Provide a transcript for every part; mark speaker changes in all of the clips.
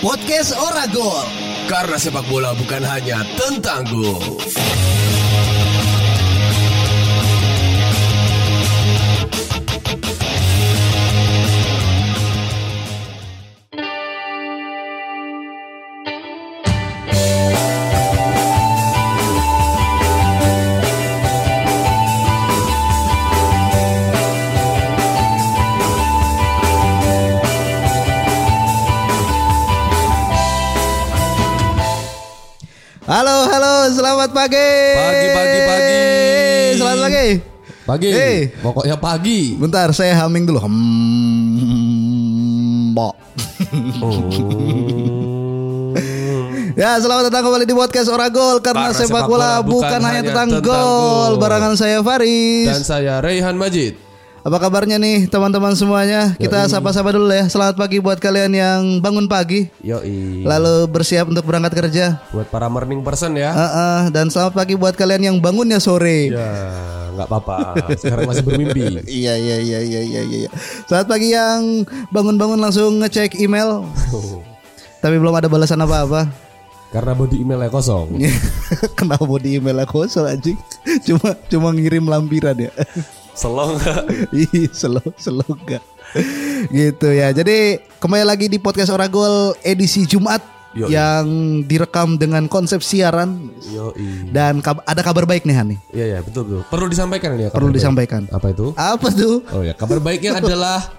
Speaker 1: Podcast Oragol. Karena sepak bola bukan hanya tentang gol.
Speaker 2: Halo, halo, selamat pagi.
Speaker 3: Pagi, pagi, pagi.
Speaker 2: Selamat pagi.
Speaker 3: Pagi.
Speaker 2: Hey.
Speaker 3: Pokoknya pagi.
Speaker 2: Bentar, saya humming dulu. Hmm, bok. Oh. Ya, selamat datang kembali di podcast Oragol karena,
Speaker 3: Karena
Speaker 2: sepak bola bukan, hanya tentang gol.
Speaker 3: gol.
Speaker 2: Barangan saya Faris.
Speaker 3: Dan saya Raihan Majid.
Speaker 2: Apa kabarnya nih teman-teman semuanya? Kita sapa-sapa dulu ya. Selamat pagi buat kalian yang bangun pagi
Speaker 3: Yoi.
Speaker 2: lalu bersiap untuk berangkat kerja.
Speaker 3: Buat para morning person ya.
Speaker 2: Heeh, dan selamat pagi buat kalian yang bangunnya sore.
Speaker 3: Ya, nggak apa-apa. Sekarang masih bermimpi.
Speaker 2: Iya iya iya iya iya iya. Saat pagi yang bangun-bangun langsung ngecek email,
Speaker 3: Oh.
Speaker 2: tapi belum ada balasan apa-apa.
Speaker 3: Karena body emailnya kosong.
Speaker 2: Kenapa di email aku kosong anjing? Cuma cuma ngirim lampiran ya.
Speaker 3: Selo nggak?
Speaker 2: Ih, slow slow gak. Gitu ya. Jadi kembali lagi di podcast Oragol edisi Jumat
Speaker 3: Yoi.
Speaker 2: yang direkam dengan konsep siaran
Speaker 3: Yoi.
Speaker 2: dan kab- ada kabar baik nih Hani.
Speaker 3: Iya ya betul betul. Perlu disampaikan ini ya. kabar
Speaker 2: Perlu
Speaker 3: baik.
Speaker 2: disampaikan.
Speaker 3: Apa itu?
Speaker 2: Apa tuh?
Speaker 3: Oh ya, kabar baiknya adalah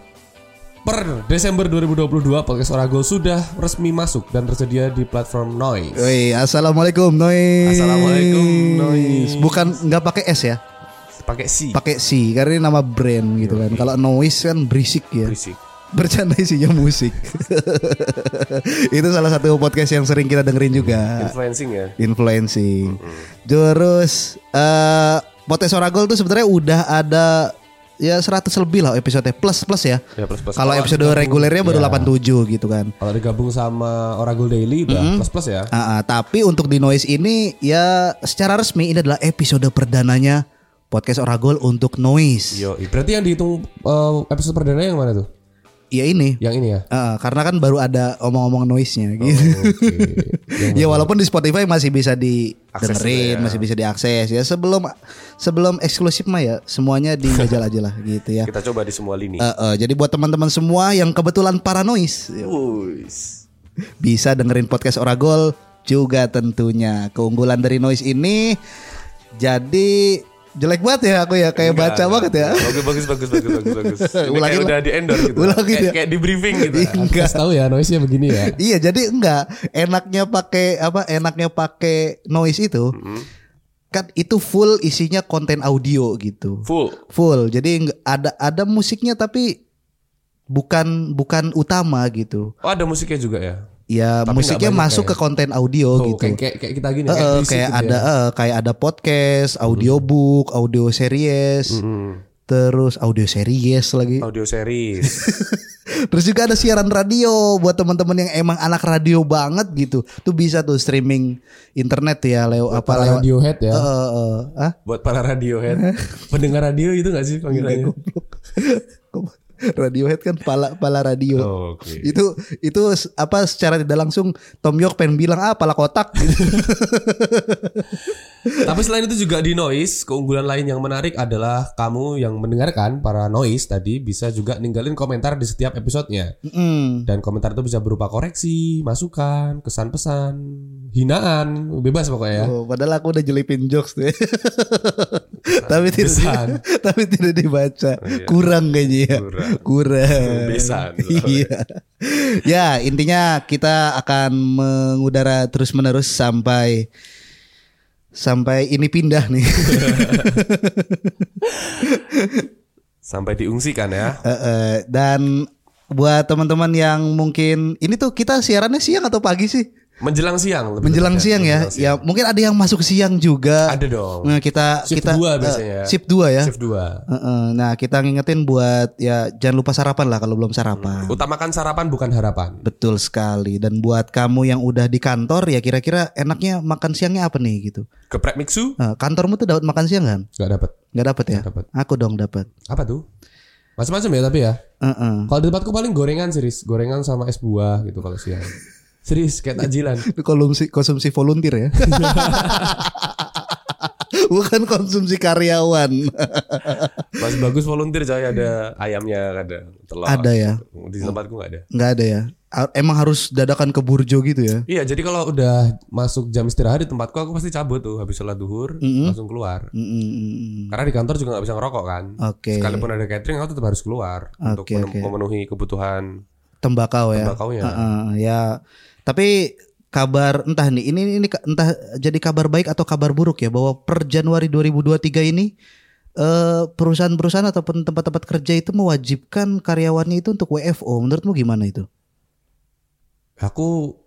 Speaker 3: per Desember 2022 podcast Orago sudah resmi masuk dan tersedia di platform Noise.
Speaker 2: Woi, assalamualaikum Nois.
Speaker 3: Assalamualaikum, Nois.
Speaker 2: Bukan nggak pakai S ya?
Speaker 3: Pakai si.
Speaker 2: pakai si karena ini nama brand gitu kan. Kalau noise kan berisik ya.
Speaker 3: Berisik.
Speaker 2: Bercanda isinya musik. Itu salah satu podcast yang sering kita dengerin juga.
Speaker 3: Influencing ya.
Speaker 2: Influencing. Terus eh podcast Oragol tuh sebenarnya udah ada ya 100 lebih lah episode plus plus ya.
Speaker 3: Ya plus plus.
Speaker 2: Kalau episode regulernya baru 87 gitu kan.
Speaker 3: Kalau digabung sama Oragol Daily udah plus-plus ya.
Speaker 2: Ah, ah, tapi untuk di Noise ini ya secara resmi ini adalah episode perdananya podcast Oragol untuk Noise.
Speaker 3: Yo, berarti yang dihitung eh, episode perdana yang mana tuh?
Speaker 2: Ya ini
Speaker 3: Yang ini ya.
Speaker 2: Heeh, karena kan baru ada omong-omong noise-nya
Speaker 3: iya,
Speaker 2: gitu.
Speaker 3: Oke. Yang-
Speaker 2: ya walaupun di Spotify masih bisa didengerin, masih bisa diakses ya. Sebelum sebelum eksklusif mah ya semuanya dijajal aja lah gitu
Speaker 3: Iya.
Speaker 2: ya.
Speaker 4: Kita coba di semua lini.
Speaker 2: Eh, eh, jadi buat teman-teman semua yang kebetulan ya. paranois
Speaker 4: Wuis.
Speaker 2: bisa dengerin podcast Oragol juga tentunya. Keunggulan dari noise ini jadi jelek banget ya aku ya kayak baca banget ya.
Speaker 4: Bagus bagus bagus bagus bagus bagus. Ini
Speaker 2: Ulangin
Speaker 4: kayak
Speaker 2: lah.
Speaker 4: udah di endorse gitu.
Speaker 2: Ulangin
Speaker 4: kayak,
Speaker 2: ya.
Speaker 4: kayak di briefing gitu.
Speaker 2: Enggak.
Speaker 3: Podcast tahu ya noise-nya begini ya.
Speaker 2: Iya, jadi enggak enaknya pakai apa? Enaknya pakai noise itu.
Speaker 3: Mm-hmm.
Speaker 2: Kan itu full isinya konten audio gitu.
Speaker 4: Full.
Speaker 2: Full. Jadi enggak- ada ada musiknya tapi bukan bukan utama gitu.
Speaker 4: Oh ada musiknya juga ya.
Speaker 2: Ya
Speaker 3: Tapi enggak
Speaker 2: musiknya
Speaker 3: banyak
Speaker 2: masuk
Speaker 3: kayak-
Speaker 2: ke konten audio
Speaker 3: Oh,
Speaker 2: gitu.
Speaker 3: kayak, kayak kayak kita gini
Speaker 2: Eh, eh,
Speaker 3: berisik
Speaker 2: kayak
Speaker 3: gitu
Speaker 2: ada
Speaker 3: ya.
Speaker 2: eh, kayak ada podcast, audiobook, audio series, terus audio series lagi.
Speaker 4: Audio series.
Speaker 2: Terus juga ada siaran radio buat teman-teman yang emang anak radio banget gitu. Tuh bisa tuh streaming internet ya Leo apa
Speaker 3: para
Speaker 2: lewat
Speaker 3: radiohead ya.
Speaker 2: Eh, eh, eh, ah?
Speaker 4: Buat para radiohead.
Speaker 3: Pendengar radio itu gak sih panggilannya?
Speaker 2: Radiohead kan pala pala radio.
Speaker 4: Oh, Oke.
Speaker 2: Itu itu s- apa secara tidak langsung Tom York pengen bilang ah pala kotak gitu.
Speaker 3: Tapi selain itu juga di noise, keunggulan lain yang menarik adalah kamu yang mendengarkan para noise tadi bisa juga ninggalin komentar di setiap episodenya.
Speaker 2: Mm.
Speaker 3: Dan komentar itu bisa berupa koreksi, masukan, kesan pesan, hinaan, bebas pokoknya ya.
Speaker 2: Oh, padahal aku udah jelipin jokes tuh. ya. tapi tidak di-
Speaker 3: Besan.
Speaker 2: tapi tidak
Speaker 3: Oh,
Speaker 2: dibaca.
Speaker 3: iya.
Speaker 2: Kurang kayaknya ya.
Speaker 4: Kurang.
Speaker 2: Kurang.
Speaker 4: Besan.
Speaker 2: Iya. ya, intinya kita akan mengudara terus-menerus sampai sampai ini pindah nih.
Speaker 4: Sampai diungsikan ya.
Speaker 2: Eh, eh, Dan buat teman-teman yang mungkin ini tuh kita siarannya siang atau pagi sih?
Speaker 4: Menjelang siang. lebih
Speaker 2: Menjelang
Speaker 4: tepatnya.
Speaker 2: siang ya.
Speaker 4: Menjelang
Speaker 2: Ya, mungkin ada yang masuk siang juga.
Speaker 4: Ada dong.
Speaker 2: Nah, kita
Speaker 3: Shift
Speaker 2: kita
Speaker 3: dua
Speaker 2: eh,
Speaker 3: biasanya ya.
Speaker 2: shift 2 ya.
Speaker 4: Shift 2.
Speaker 2: Heeh, Nah kita ngingetin buat ya jangan lupa sarapan lah kalau belum sarapan.
Speaker 3: Utamakan sarapan bukan harapan.
Speaker 2: Betul sekali. Dan buat kamu yang udah di kantor ya kira-kira enaknya makan siangnya apa nih gitu.
Speaker 4: Geprek Mixu.
Speaker 2: Nah, kantormu tuh dapat makan siang kan?
Speaker 3: Gak dapet.
Speaker 2: Nggak dapat ya?
Speaker 3: Nggak dapet.
Speaker 2: Aku dong dapat.
Speaker 3: Apa tuh? Macam-macam ya tapi ya.
Speaker 2: Heeh.
Speaker 3: Kalau di tempatku paling gorengan sih, Riz. gorengan sama es buah gitu kalau siang.
Speaker 5: Serius kayak takjilan.
Speaker 2: Itu konsumsi konsumsi volunteer ya. Bukan konsumsi karyawan.
Speaker 3: Mas bagus volunteer coy ada ayamnya ada telur.
Speaker 2: Ada ya?
Speaker 3: Di tempatku nggak ada.
Speaker 2: Nggak ada ya. A- Emang harus dadakan ke burjo gitu ya.
Speaker 3: Iya jadi kalau udah masuk jam istirahat di tempatku aku pasti cabut tuh habis sholat duhur langsung keluar.
Speaker 2: Mm, mm, mm, mm.
Speaker 3: Karena di kantor juga nggak bisa ngerokok kan.
Speaker 2: Oke.
Speaker 3: Sekalipun ada catering aku tetap harus keluar untuk
Speaker 2: Oke,
Speaker 3: menem-
Speaker 2: oke.
Speaker 3: memenuhi kebutuhan
Speaker 2: Tembakau ya.
Speaker 3: bakaunya.
Speaker 2: Heeh, ya. Tapi kabar entah nih ini ini ka- entah jadi kabar baik atau kabar buruk ya bahwa per Januari 2023 ini eh perusahaan-perusahaan ataupun tempat-tempat kerja itu mewajibkan karyawannya itu untuk WFO. Menurutmu gimana itu?
Speaker 3: Aku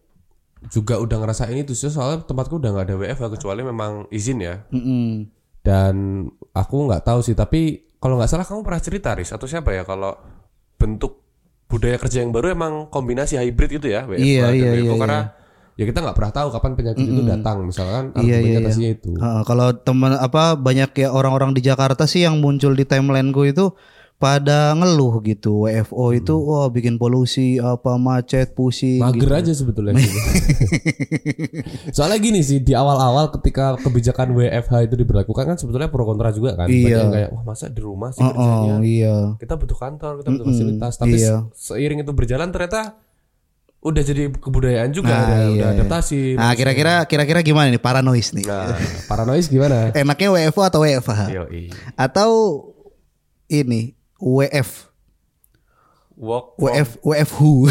Speaker 3: juga udah ngerasain itu sih soalnya tempatku udah nggak ada WFH kecuali memang izin ya.
Speaker 2: Mm-mm.
Speaker 3: Dan aku nggak tahu sih tapi kalau nggak salah kamu pernah cerita Riz atau siapa ya kalau bentuk budaya kerja yang baru emang kombinasi hybrid itu ya WFH
Speaker 2: Iya,
Speaker 3: dan
Speaker 2: iya,
Speaker 3: WFO,
Speaker 2: iya,
Speaker 3: karena ya kita nggak pernah tahu kapan penyakit itu datang misalkan
Speaker 2: Iya, iya, iya.
Speaker 3: argumentasinya itu.
Speaker 2: Heeh, kalau teman apa banyak ya orang-orang di Jakarta sih yang muncul di timeline gue itu pada ngeluh gitu WFO itu wah bikin polusi apa macet pusing
Speaker 5: Mager aja sebetulnya. sih. Soalnya gini sih di awal-awal ketika kebijakan WFH itu diberlakukan kan sebetulnya pro kontra juga kan. Banyak
Speaker 2: Iya.
Speaker 5: yang kayak wah masa di rumah sih
Speaker 2: Oh,
Speaker 5: kerjanya.
Speaker 2: oh iya.
Speaker 3: Kita butuh kantor, kita butuh
Speaker 2: Mm-mm,
Speaker 3: fasilitas tapi
Speaker 2: iya.
Speaker 3: se- seiring itu berjalan ternyata udah jadi kebudayaan juga
Speaker 2: Nah,
Speaker 3: udah,
Speaker 2: iya,
Speaker 3: udah
Speaker 2: iya.
Speaker 3: adaptasi.
Speaker 2: Nah, kira-kira kira-kira gimana nih paranois nih?
Speaker 3: Nah,
Speaker 5: Paranois gimana?
Speaker 2: Enaknya WFO atau WFH?
Speaker 3: yoi.
Speaker 2: Atau ini WF
Speaker 3: Work from-
Speaker 2: WF WF who?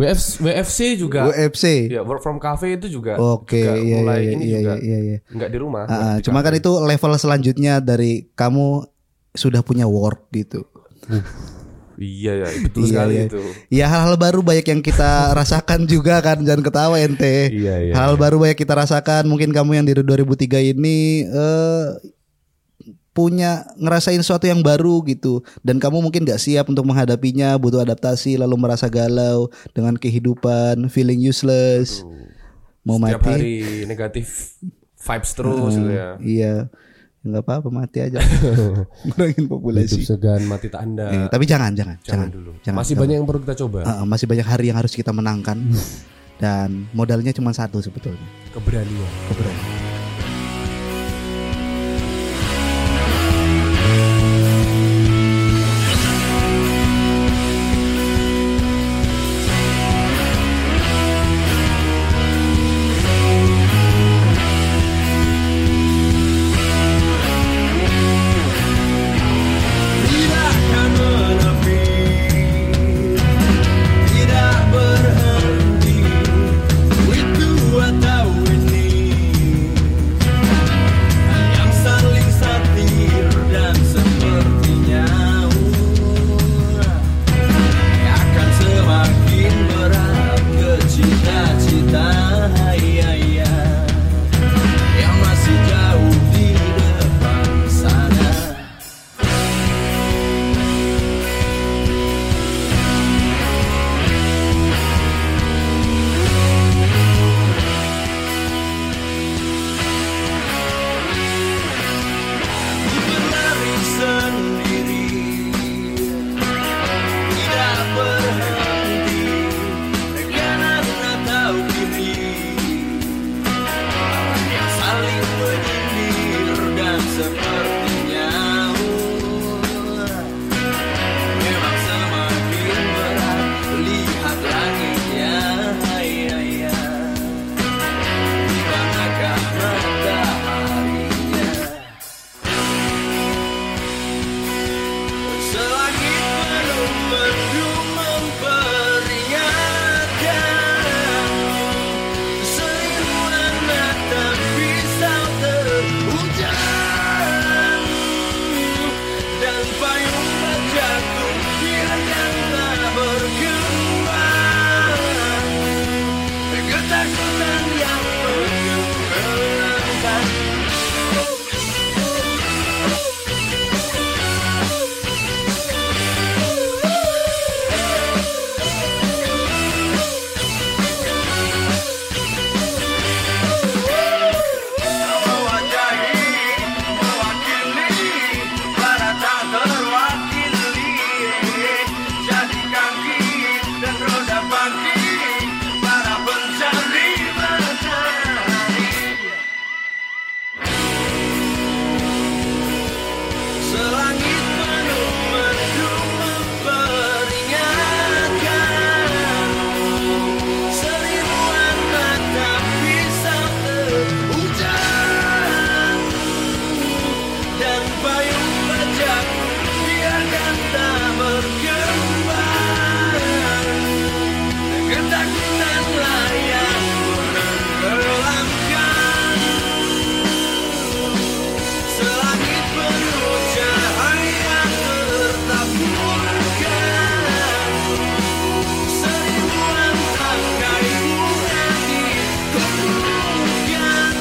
Speaker 3: WF WFC juga.
Speaker 2: WFC.
Speaker 3: Ya, work from cafe itu juga.
Speaker 2: Oke,
Speaker 3: juga
Speaker 2: iya iya
Speaker 3: mulai
Speaker 2: iya
Speaker 3: ini
Speaker 2: iya
Speaker 3: juga.
Speaker 2: iya, iya.
Speaker 3: Nggak di rumah.
Speaker 2: Ah, ah,
Speaker 3: nggak di
Speaker 2: cuma kan itu level selanjutnya dari kamu sudah punya work gitu.
Speaker 3: Iya ya, betul
Speaker 2: Iya,
Speaker 3: sekali
Speaker 2: iya.
Speaker 3: itu.
Speaker 2: Ya hal-hal baru banyak yang kita rasakan juga kan jangan ketawa ente.
Speaker 3: Iya, iya,
Speaker 2: hal baru banyak kita rasakan. Mungkin kamu yang di 2003 ini eh punya ngerasain sesuatu yang baru gitu dan kamu mungkin nggak siap untuk menghadapinya, butuh adaptasi lalu merasa galau dengan kehidupan, feeling useless. Mau
Speaker 3: Tiap
Speaker 2: mati.
Speaker 3: hari negatif vibes terus gitu ya.
Speaker 2: Iya. nggak apa-apa mati aja. Ngurangin
Speaker 5: Hidup
Speaker 2: populasi.
Speaker 5: segan mati tak
Speaker 2: Eh,
Speaker 5: anda.
Speaker 2: tapi jangan, jangan,
Speaker 3: Jangan
Speaker 2: jangan,
Speaker 3: dulu.
Speaker 2: jangan.
Speaker 3: Masih
Speaker 2: Jangan.
Speaker 3: banyak yang perlu kita coba.
Speaker 2: Uh, masih banyak hari yang harus kita menangkan dan modalnya cuma satu sebetulnya.
Speaker 3: Keberanian.
Speaker 1: Tidak akan menepi, tidak berhenti, itu atau ini.
Speaker 6: Ketakutan layak berlangkah Selangit penuh cahaya tertaburkan Seribuan tangkai bunga dikemukan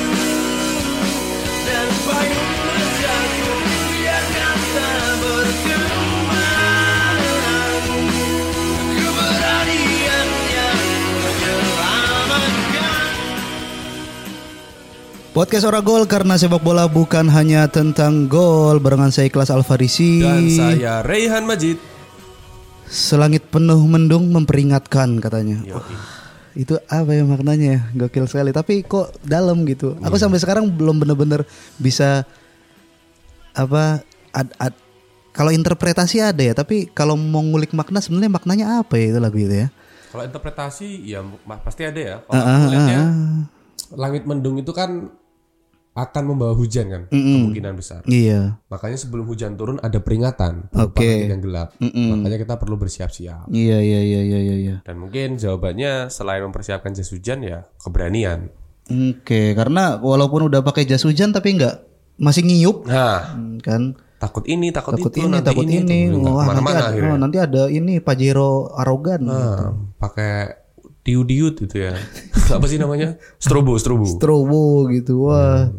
Speaker 6: Dan payung menjatuh biarkan tak berkembang Keberanian yang menyelamatkan
Speaker 2: Podcast Ora Gol karena sepak bola bukan hanya tentang gol. Barengan saya Ikhlas Alfarisi.
Speaker 3: Dan saya Raihan Majid.
Speaker 2: Selangit penuh mendung memperingatkan katanya.
Speaker 3: Iya.
Speaker 2: Wah, itu apa ya maknanya ya? Gokil sekali. Tapi kok dalam gitu.
Speaker 3: Iya.
Speaker 2: Aku sampai sekarang belum bener-bener bisa apa ad, ad- kalau interpretasi ada ya, tapi kalau mau ngulik makna sebenarnya maknanya apa ya itu lagu itu ya?
Speaker 3: Kalau interpretasi ya ma- pasti ada ya. Kalau aku
Speaker 2: Ah,
Speaker 3: melihatnya, langit mendung itu kan akan membawa hujan kan kemungkinan besar.
Speaker 2: Iya.
Speaker 3: Makanya sebelum hujan turun ada peringatan berupa
Speaker 2: Oke.
Speaker 3: langit yang gelap. Makanya kita perlu bersiap-siap.
Speaker 2: Iya iya iya iya iya. iya.
Speaker 3: Dan mungkin jawabannya selain mempersiapkan jas hujan ya keberanian.
Speaker 2: Oke, karena walaupun udah pakai jas hujan tapi nggak masih ngiyup
Speaker 3: Nah,
Speaker 2: Hmm, kan?
Speaker 3: takut ini, takut,
Speaker 2: Takut
Speaker 3: itu,
Speaker 2: ini,
Speaker 3: nanti
Speaker 2: takut
Speaker 3: ini, takut
Speaker 2: ini. Wah, nanti
Speaker 3: kemana-mana
Speaker 2: ada,
Speaker 3: akhirnya.
Speaker 2: oh, nanti ada ini Pajero arogan. gitu.
Speaker 3: Nah, pakai diut-diut gitu ya. Apa sih namanya? Strobo, strobo.
Speaker 2: Strobo gitu. Wah.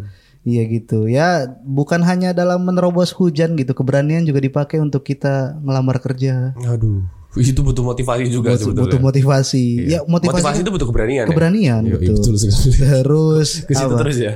Speaker 2: Iya gitu. Ya, bukan hanya dalam menerobos hujan gitu, keberanian juga dipakai untuk kita ngelamar kerja.
Speaker 3: Aduh, itu butuh motivasi juga
Speaker 2: Butuh,
Speaker 3: sebetulnya.
Speaker 2: butuh motivasi. Ya,
Speaker 3: Iya. motivasi,
Speaker 2: motivasi,
Speaker 3: itu butuh keberanian. ya?
Speaker 2: keberanian
Speaker 3: Iya, iya,
Speaker 2: betul.
Speaker 5: betul sekali.
Speaker 2: Terus
Speaker 3: Ke situ
Speaker 2: apa?
Speaker 3: terus ya.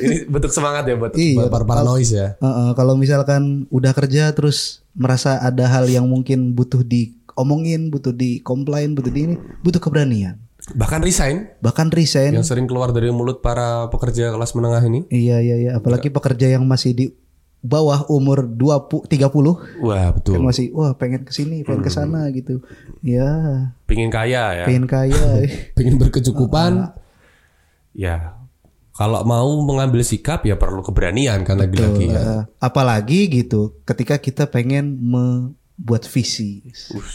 Speaker 3: Ini bentuk semangat ya buat
Speaker 2: Iya,
Speaker 5: Para para noise ya.
Speaker 2: Heeh, kalau misalkan udah kerja terus merasa ada hal yang mungkin butuh diomongin, butuh dikomplain, butuh di ini, butuh keberanian.
Speaker 3: bahkan resign
Speaker 2: Bahkan resign.
Speaker 3: yang sering keluar dari mulut para pekerja kelas menengah ini.
Speaker 2: Iya iya iya, apalagi pekerja yang masih di bawah umur 20 30
Speaker 3: Wah,
Speaker 2: kan
Speaker 3: betul. Hmm.
Speaker 2: masih wah pengen ke sini, pengen ke sana gitu. Ya,
Speaker 3: Pingin kaya ya.
Speaker 2: pengen kaya.
Speaker 5: Pengen berkecukupan.
Speaker 3: Ya. Kalau mau mengambil sikap ya perlu keberanian kan lagi-lagi ya.
Speaker 2: Eh, apalagi gitu ketika kita pengen membuat visi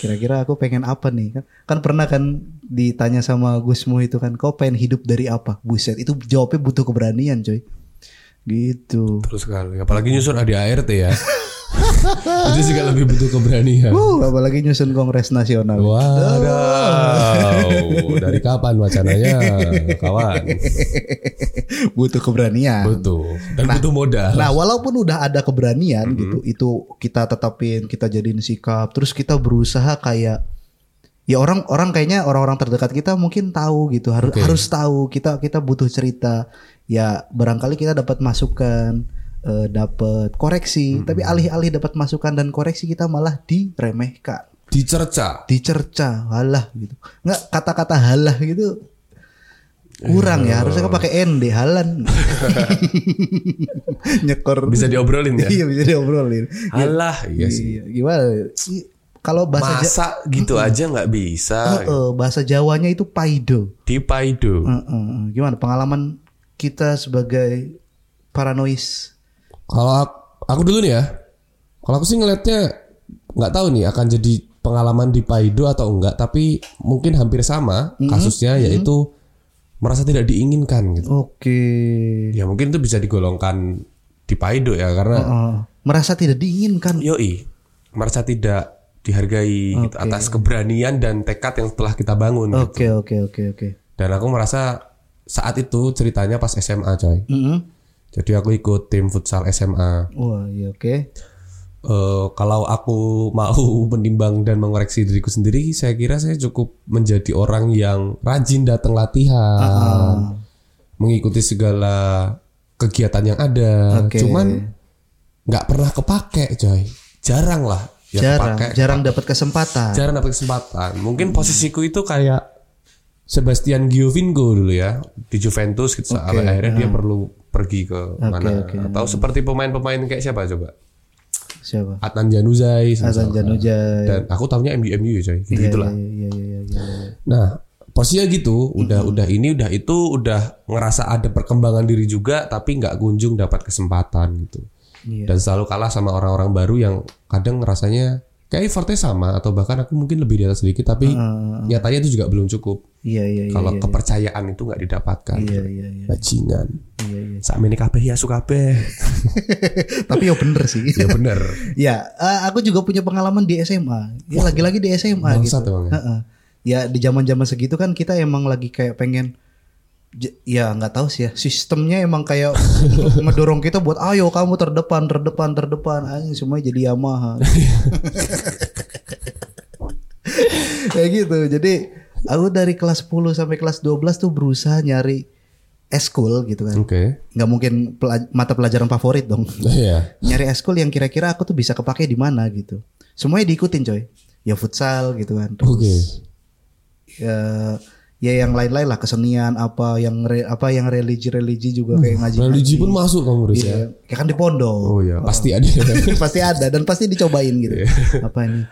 Speaker 2: kira-kira aku pengen apa nih kan, kan pernah kan ditanya sama Gusmu itu kan kau pengen hidup dari apa buset itu jawabnya butuh keberanian coy gitu
Speaker 3: Terus sekali. Apalagi nyusun ADART ya.
Speaker 5: Itu juga lebih butuh keberanian.
Speaker 2: Uh, apalagi nyusun kongres nasional
Speaker 5: Waduh, dari kapan wacananya, kawan?
Speaker 2: butuh keberanian
Speaker 5: Betul. Dan butuh modal.
Speaker 2: Nah, walaupun udah ada keberanian gitu, itu kita tetapin, kita jadiin sikap, terus kita berusaha kayak ya orang orang kayaknya orang-orang terdekat kita mungkin tahu gitu, harus harus tahu kita kita butuh cerita. Ya, barangkali kita dapat masukan, eh, dapat koreksi, tapi alih-alih dapat masukan dan koreksi kita malah diremehkan,
Speaker 3: Dicerca.
Speaker 2: dicerca, halah gitu. Enggak kata-kata halah gitu kurang ya harusnya kan pakai nd halan nyekor
Speaker 3: Bisa diobrolin ya.
Speaker 2: Iya bisa diobrolin.
Speaker 3: Alah, iya sih.
Speaker 2: Iya, gimana? I- Kalau bahasa Ja-
Speaker 3: Masa gitu aja nggak bisa.
Speaker 2: Heeh, bahasa Jawanya itu paido.
Speaker 3: Di Paido.
Speaker 2: Mm. Heeh, Gimana pengalaman kita sebagai paranois?
Speaker 5: Kalau aku, aku dulu nih ya. Kalau aku sih ngelihatnya nggak tahu nih akan jadi pengalaman di Paido atau enggak, tapi mungkin hampir sama kasusnya yaitu merasa tidak diinginkan gitu.
Speaker 2: Oke.
Speaker 3: Ya mungkin itu bisa digolongkan di Paido ya karena
Speaker 2: Heeh. merasa tidak diinginkan.
Speaker 3: yoi merasa tidak dihargai gitu, atas keberanian dan tekad yang telah kita bangun. gitu.
Speaker 2: Oke oke oke oke.
Speaker 3: Dan aku merasa saat itu ceritanya pas SMA coy.
Speaker 2: Heeh.
Speaker 3: Jadi aku ikut tim futsal SMA.
Speaker 2: Wah iya oke.
Speaker 3: Eh, kalau aku mau menimbang dan mengoreksi diriku sendiri, saya kira saya cukup menjadi orang yang rajin datang latihan, mengikuti segala kegiatan yang ada.
Speaker 2: Oke.
Speaker 3: Cuman nggak pernah kepake, coy. Jarang lah. Ya
Speaker 2: jarang
Speaker 3: kepake.
Speaker 2: jarang dapat kesempatan.
Speaker 3: jarang dapat kesempatan. Mungkin posisiku itu kayak Sebastian Giovinco dulu ya di Juventus gitu. Sampai akhirnya dia perlu pergi ke mana atau seperti pemain-pemain kayak siapa coba?
Speaker 2: Siapa?
Speaker 3: Adnan Januzaj misalkan.
Speaker 2: Hasan Janujay.
Speaker 3: dan aku tahunya MU MU ya coy. Gitu gitulah.
Speaker 2: Iya iya iya iya. iya.
Speaker 3: Nah, posisinya gitu, udah udah ini udah itu udah ngerasa ada perkembangan diri juga tapi nggak kunjung dapat kesempatan gitu.
Speaker 2: Iya.
Speaker 3: Dan selalu kalah sama orang-orang baru yang kadang rasanya kayak effortnya sama atau bahkan aku mungkin lebih di atas sedikit tapi nyatanya itu juga belum cukup
Speaker 2: Iya iya iya.
Speaker 3: kalau kepercayaan itu nggak didapatkan
Speaker 2: Iya iya iya.
Speaker 3: bajingan saat ini kabeh ya suka kabeh
Speaker 2: Tapi ya bener sih.
Speaker 3: ya bener
Speaker 2: ya, eh, aku juga punya pengalaman di SMA. Ya lagi-lagi di SMA
Speaker 3: Bangsat
Speaker 2: gitu.
Speaker 3: emang ya.
Speaker 2: Heeh. Ya di zaman-zaman segitu kan kita emang lagi kayak pengen j- ya nggak tahu sih ya sistemnya emang kayak mendorong kita buat ayo kamu terdepan terdepan terdepan anjing semuanya jadi Yamaha kayak gitu jadi aku dari kelas 10 sampai kelas 12 tuh berusaha nyari eskul gitu kan
Speaker 3: oke
Speaker 2: nggak mungkin pela- mata pelajaran favorit dong
Speaker 3: iya
Speaker 2: nyari eskul yang kira-kira aku tuh bisa kepake di mana gitu. Semuanya diikutin coy. Ya futsal gitu kan. Terus,
Speaker 3: Oke.
Speaker 2: eh, ya yang lain-lain lah kesenian apa yang re- apa yang religi-religi juga kayak ngaji.
Speaker 3: religi pun masuk kamu Riz ya
Speaker 2: Iya. Ya kan di pondok.
Speaker 3: oh iya pasti ada Iya.
Speaker 2: pasti ada dan pasti dicobain gitu. apa ini?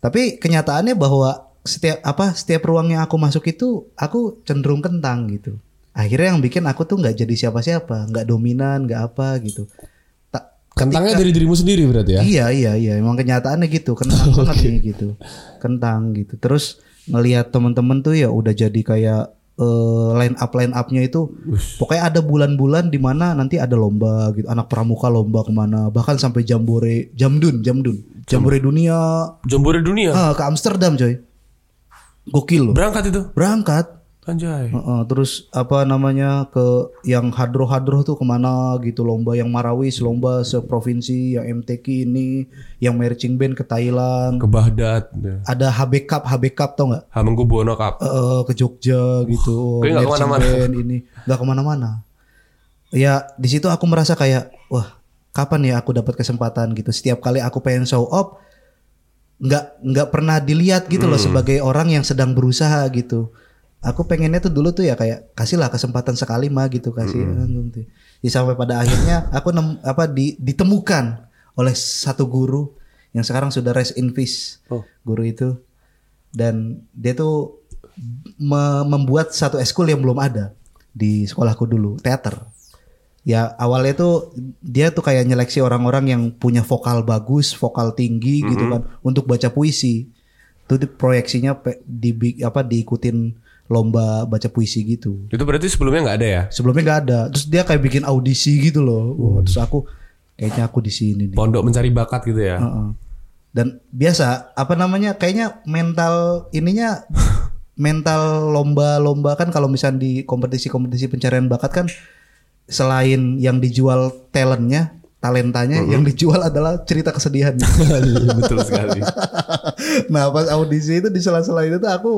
Speaker 2: Tapi kenyataannya bahwa setiap apa setiap ruang yang aku masuk itu aku cenderung kentang gitu. Akhirnya yang bikin aku tuh nggak jadi siapa-siapa, nggak dominan, nggak apa gitu. Tak
Speaker 3: kentangnya dari dirimu sendiri berarti ya
Speaker 2: Iya iya iya emang kenyataannya gitu kentang banget nih gitu kentang gitu terus ngelihat temen-temen tuh ya udah jadi kayak eh, line up line upnya itu pokoknya ada bulan-bulan di mana nanti ada lomba gitu anak pramuka lomba kemana bahkan sampai jambore jamdun jamdun jambore dunia
Speaker 3: jambore dunia
Speaker 2: Ah, ke Amsterdam coy gokil loh
Speaker 3: berangkat itu
Speaker 2: berangkat
Speaker 3: anjay
Speaker 2: Heeh, terus apa namanya ke yang hadroh-hadroh tuh kemana gitu lomba yang Marawis lomba seprovinsi yang MTQ ini yang marching band ke Thailand
Speaker 3: ke Baghdad
Speaker 2: ada HB Cup HB Cup tau nggak
Speaker 3: Hamengkubuwono Cup
Speaker 2: Eh, ke Jogja gitu
Speaker 3: Kayaknya nggak
Speaker 2: marching
Speaker 3: kemana-mana.
Speaker 2: band ini nggak kemana-mana ya di situ aku merasa kayak wah kapan ya aku dapat kesempatan gitu setiap kali aku pengen show up nggak nggak pernah dilihat gitu
Speaker 3: Hmm.
Speaker 2: loh sebagai orang yang sedang berusaha gitu. Aku pengennya tuh dulu tuh ya kayak kasihlah kesempatan sekali mah gitu kasih
Speaker 3: Hmm.
Speaker 2: gitu. Ya, sampai pada akhirnya aku nem, apa di- ditemukan oleh satu guru yang sekarang sudah rest in peace.
Speaker 3: Oh.
Speaker 2: Guru itu dan dia tuh me- membuat satu eskul yang belum ada di sekolahku dulu, teater ya awalnya tuh dia tuh kayak nyeleksi orang-orang yang punya vokal bagus, vokal tinggi gitu kan untuk baca puisi. Itu di- proyeksinya pe- di apa diikutin lomba baca puisi gitu.
Speaker 3: itu berarti sebelumnya nggak ada ya
Speaker 2: Sebelumnya nggak ada. Terus dia kayak bikin audisi gitu loh. Wah, terus aku kayaknya aku di sini nih.
Speaker 3: pondok mencari bakat gitu ya
Speaker 2: Heeh. Dan biasa apa namanya kayaknya mental ininya mental lomba-lomba kan kalau misalnya di kompetisi-kompetisi pencarian bakat kan selain yang dijual talentnya talentanya yang dijual adalah cerita kesedihan.
Speaker 3: Iya, betul sekali
Speaker 2: nah pas audisi itu di sela-sela itu tuh aku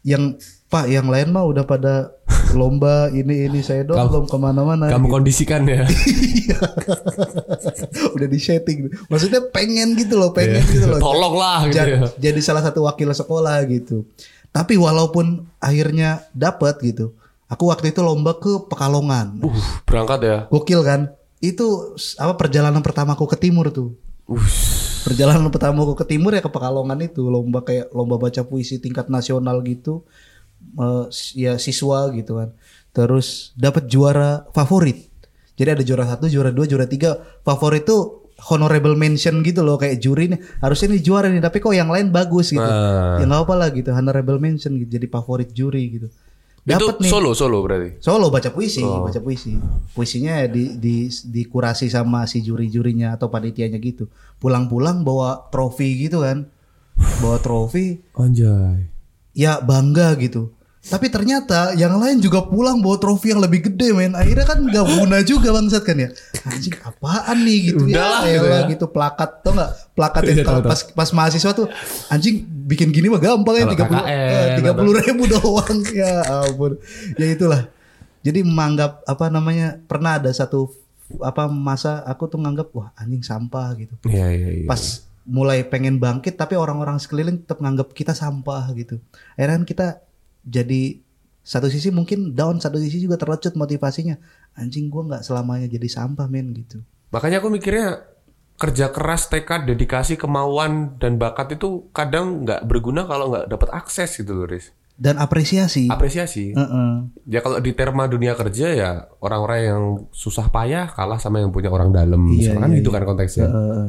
Speaker 2: yang pak yang lain mah udah pada lomba ini ini saya doang
Speaker 3: Kamu-
Speaker 2: belum kemana-mana.
Speaker 3: kamu kondisikan ya
Speaker 2: udah di setting maksudnya pengen gitu loh pengen
Speaker 3: Iya.
Speaker 2: gitu loh
Speaker 3: Tolonglah gitu
Speaker 2: Ja-
Speaker 3: ya.
Speaker 2: jadi salah satu wakil sekolah gitu tapi walaupun akhirnya dapat gitu aku waktu itu lomba ke Pekalongan
Speaker 3: uh berangkat ya
Speaker 2: gokil kan itu s- apa perjalanan pertamaku ke timur tuh perjalanan pertamaku ke timur ya ke Pekalongan itu lomba kayak lomba baca puisi tingkat nasional gitu Eh, s- ya siswa gitu kan terus dapat juara favorit jadi ada juara satu juara dua juara tiga favorit tuh honorable mention gitu loh kayak juri nih harusnya ini juara nih tapi kok yang lain bagus gitu ya nggak apa lah gitu honorable mention gitu jadi favorit juri gitu dapat
Speaker 3: itu
Speaker 2: nih
Speaker 3: solo solo berarti
Speaker 2: Solo baca puisi, baca puisi. Puisinya ya di di dikurasi sama si juri-jurinya atau panitianya gitu. Pulang-pulang bawa trofi gitu kan. Bawa trofi,
Speaker 3: anjay
Speaker 2: ya bangga gitu. Tapi ternyata yang lain juga pulang bawa trofi yang lebih gede men. Akhirnya kan nggak guna juga bangsat kan ya. Anjing apaan nih gitu
Speaker 3: Udahlah,
Speaker 2: ya.
Speaker 3: gitu
Speaker 2: elah,
Speaker 3: ya. Iya,
Speaker 2: gitu plakat tuh nggak plakat yang kalau pas pas mahasiswa tuh anjing bikin gini mah gampang ya
Speaker 3: Kalau
Speaker 2: 30
Speaker 3: KKN,
Speaker 2: tiga ribu doang ya ampun. Ya itulah. Jadi menganggap apa namanya pernah ada satu apa masa aku tuh nganggap wah anjing sampah gitu
Speaker 3: iya iya iya
Speaker 2: pas mulai pengen bangkit tapi orang-orang sekeliling tetap nganggap kita sampah gitu akhirnya kan kita jadi satu sisi mungkin down satu sisi juga terlecut motivasinya anjing gua nggak selamanya jadi sampah men gitu
Speaker 3: Makanya aku mikirnya kerja keras, tekad, dedikasi, kemauan dan bakat itu kadang nggak berguna kalau nggak dapat akses gitu loh, Riz.
Speaker 2: dan apresiasi
Speaker 3: Apresiasi.
Speaker 2: Heeh.
Speaker 3: Ya kalau di terma dunia kerja ya orang-orang yang susah payah kalah sama yang punya orang dalam. Misalkan gitu kan konteksnya.
Speaker 2: Iya, Heeh.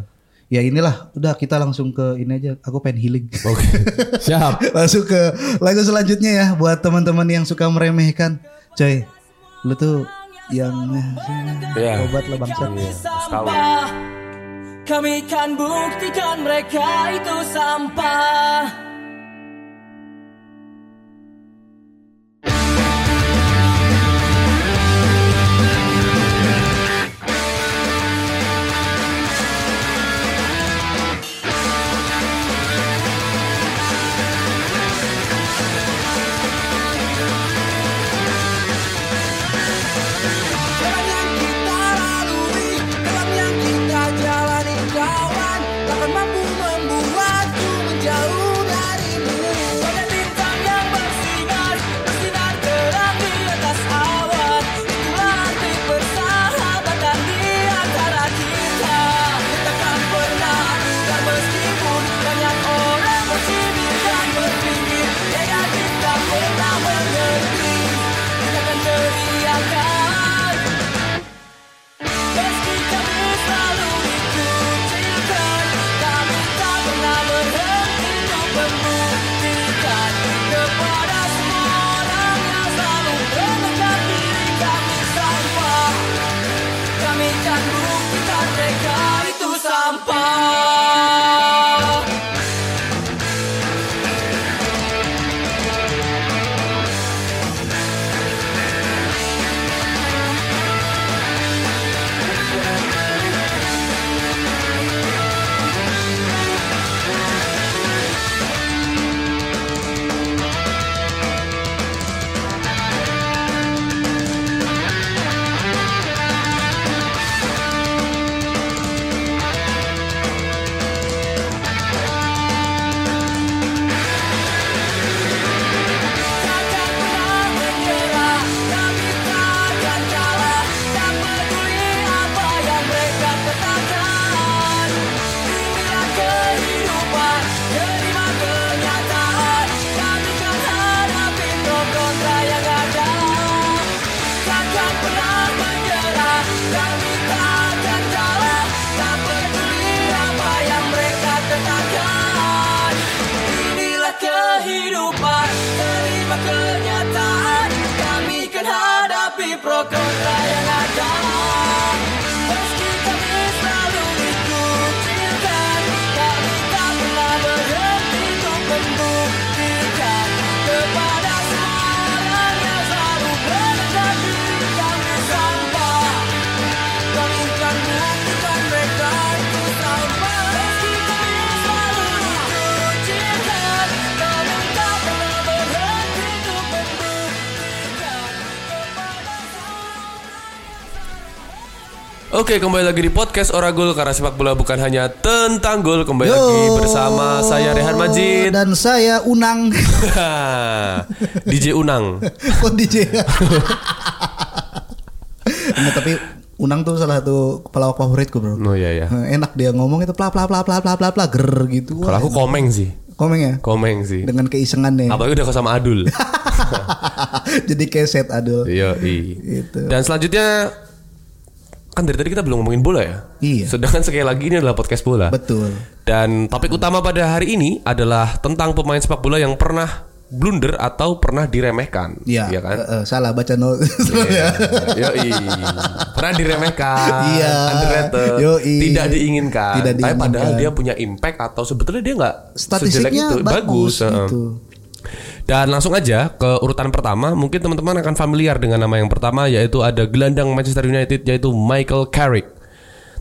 Speaker 2: ya inilah udah kita langsung ke ini aja aku pengen healing
Speaker 5: Oke. Siap.
Speaker 2: langsung ke lagu selanjutnya ya buat teman-teman yang suka meremehkan coy lu tuh yang
Speaker 5: Iya.
Speaker 2: obat lah bangsa
Speaker 7: sampah Kami kan buktikan mereka itu sampah
Speaker 6: Jalan yang kita lalui, jalan yang kita jalani kawan Takkan mampu membuatku menjauh darimu Banyak bintang yang bersinar, bersinar terang di atas awan Itulah arti persahabatan di antara kita Kita kan pernah dan meskipun banyak orang bersinar dan berpikir Tiada kita pernah mengerti, kita kan teriakan Meski kami selalu dikucilkan, kami tak pernah berhenti untuk membuktikan kepada semua orang yang selalu menekan diri kami sampah. Kami kan buktikan mereka itu sampah. Takkan pernah menyerah, kami takkan kalah Tak peduli apa yang mereka katakan Inilah kehidupan, terima kenyataan Kami kan hadapi pro kontra yang ada Takkan pernah menyerah, kami takkan kalah Tak peduli apa yang mereka katakan Inilah kehidupan, terima kenyataan Kami kan hadapi pro kontra yang ada Meski kami selalu dikucilkan Kami tak pernah berhenti untuk membuktikan Kepada semua orang yang selalu menekan diri kami sampah kami kan buktikan mereka itu sama Meski kami selalu dikucilkan Kami tak pernah berhenti untuk membuktikan Kepada
Speaker 3: Oke, kembali lagi di podcast Oragol karena sepak bola bukan hanya tentang gol. Kembali lagi bersama saya Rehan Majid.
Speaker 2: dan saya Unang
Speaker 3: DJ Unang.
Speaker 2: oh DJ Nah, tapi Unang tuh salah satu pelawak favoritku bro
Speaker 3: Oh iya ya.
Speaker 2: Eh, enak dia ngomong itu pla pla pla pla pla pla pla ger gitu
Speaker 3: Kalau
Speaker 2: Wah,
Speaker 3: aku komeng sih.
Speaker 2: komeng ya
Speaker 3: Komeng sih.
Speaker 2: dengan keisengannya
Speaker 3: Apalagi udah sama Adul.
Speaker 2: jadi keset adul
Speaker 3: Iya,
Speaker 2: Gitu.
Speaker 3: Dan selanjutnya kan dari tadi kita belum ngomongin bola ya.
Speaker 2: Iya.
Speaker 3: Sedangkan sekali lagi ini adalah podcast bola.
Speaker 2: betul
Speaker 3: Dan topik utama pada hari ini adalah tentang pemain sepak bola yang pernah blunder atau pernah diremehkan.
Speaker 2: Iya,
Speaker 3: Iya kan? Iya.
Speaker 2: eh, eh, salah baca nol Salah ya.
Speaker 3: Yoi. Pernah diremehkan,
Speaker 2: Iya.
Speaker 3: underrated,
Speaker 2: Yoi.
Speaker 3: tidak diinginkan.
Speaker 2: Tidak
Speaker 3: Tapi padahal
Speaker 2: diinginkan.
Speaker 3: dia punya impact atau sebetulnya dia nggak sejelek
Speaker 2: Statistiknya
Speaker 3: itu.
Speaker 2: bagus,
Speaker 3: heeh.
Speaker 2: gitu.
Speaker 3: Dan langsung aja ke urutan pertama, mungkin teman-teman akan familiar dengan nama yang pertama yaitu ada gelandang Manchester United yaitu Michael Carrick.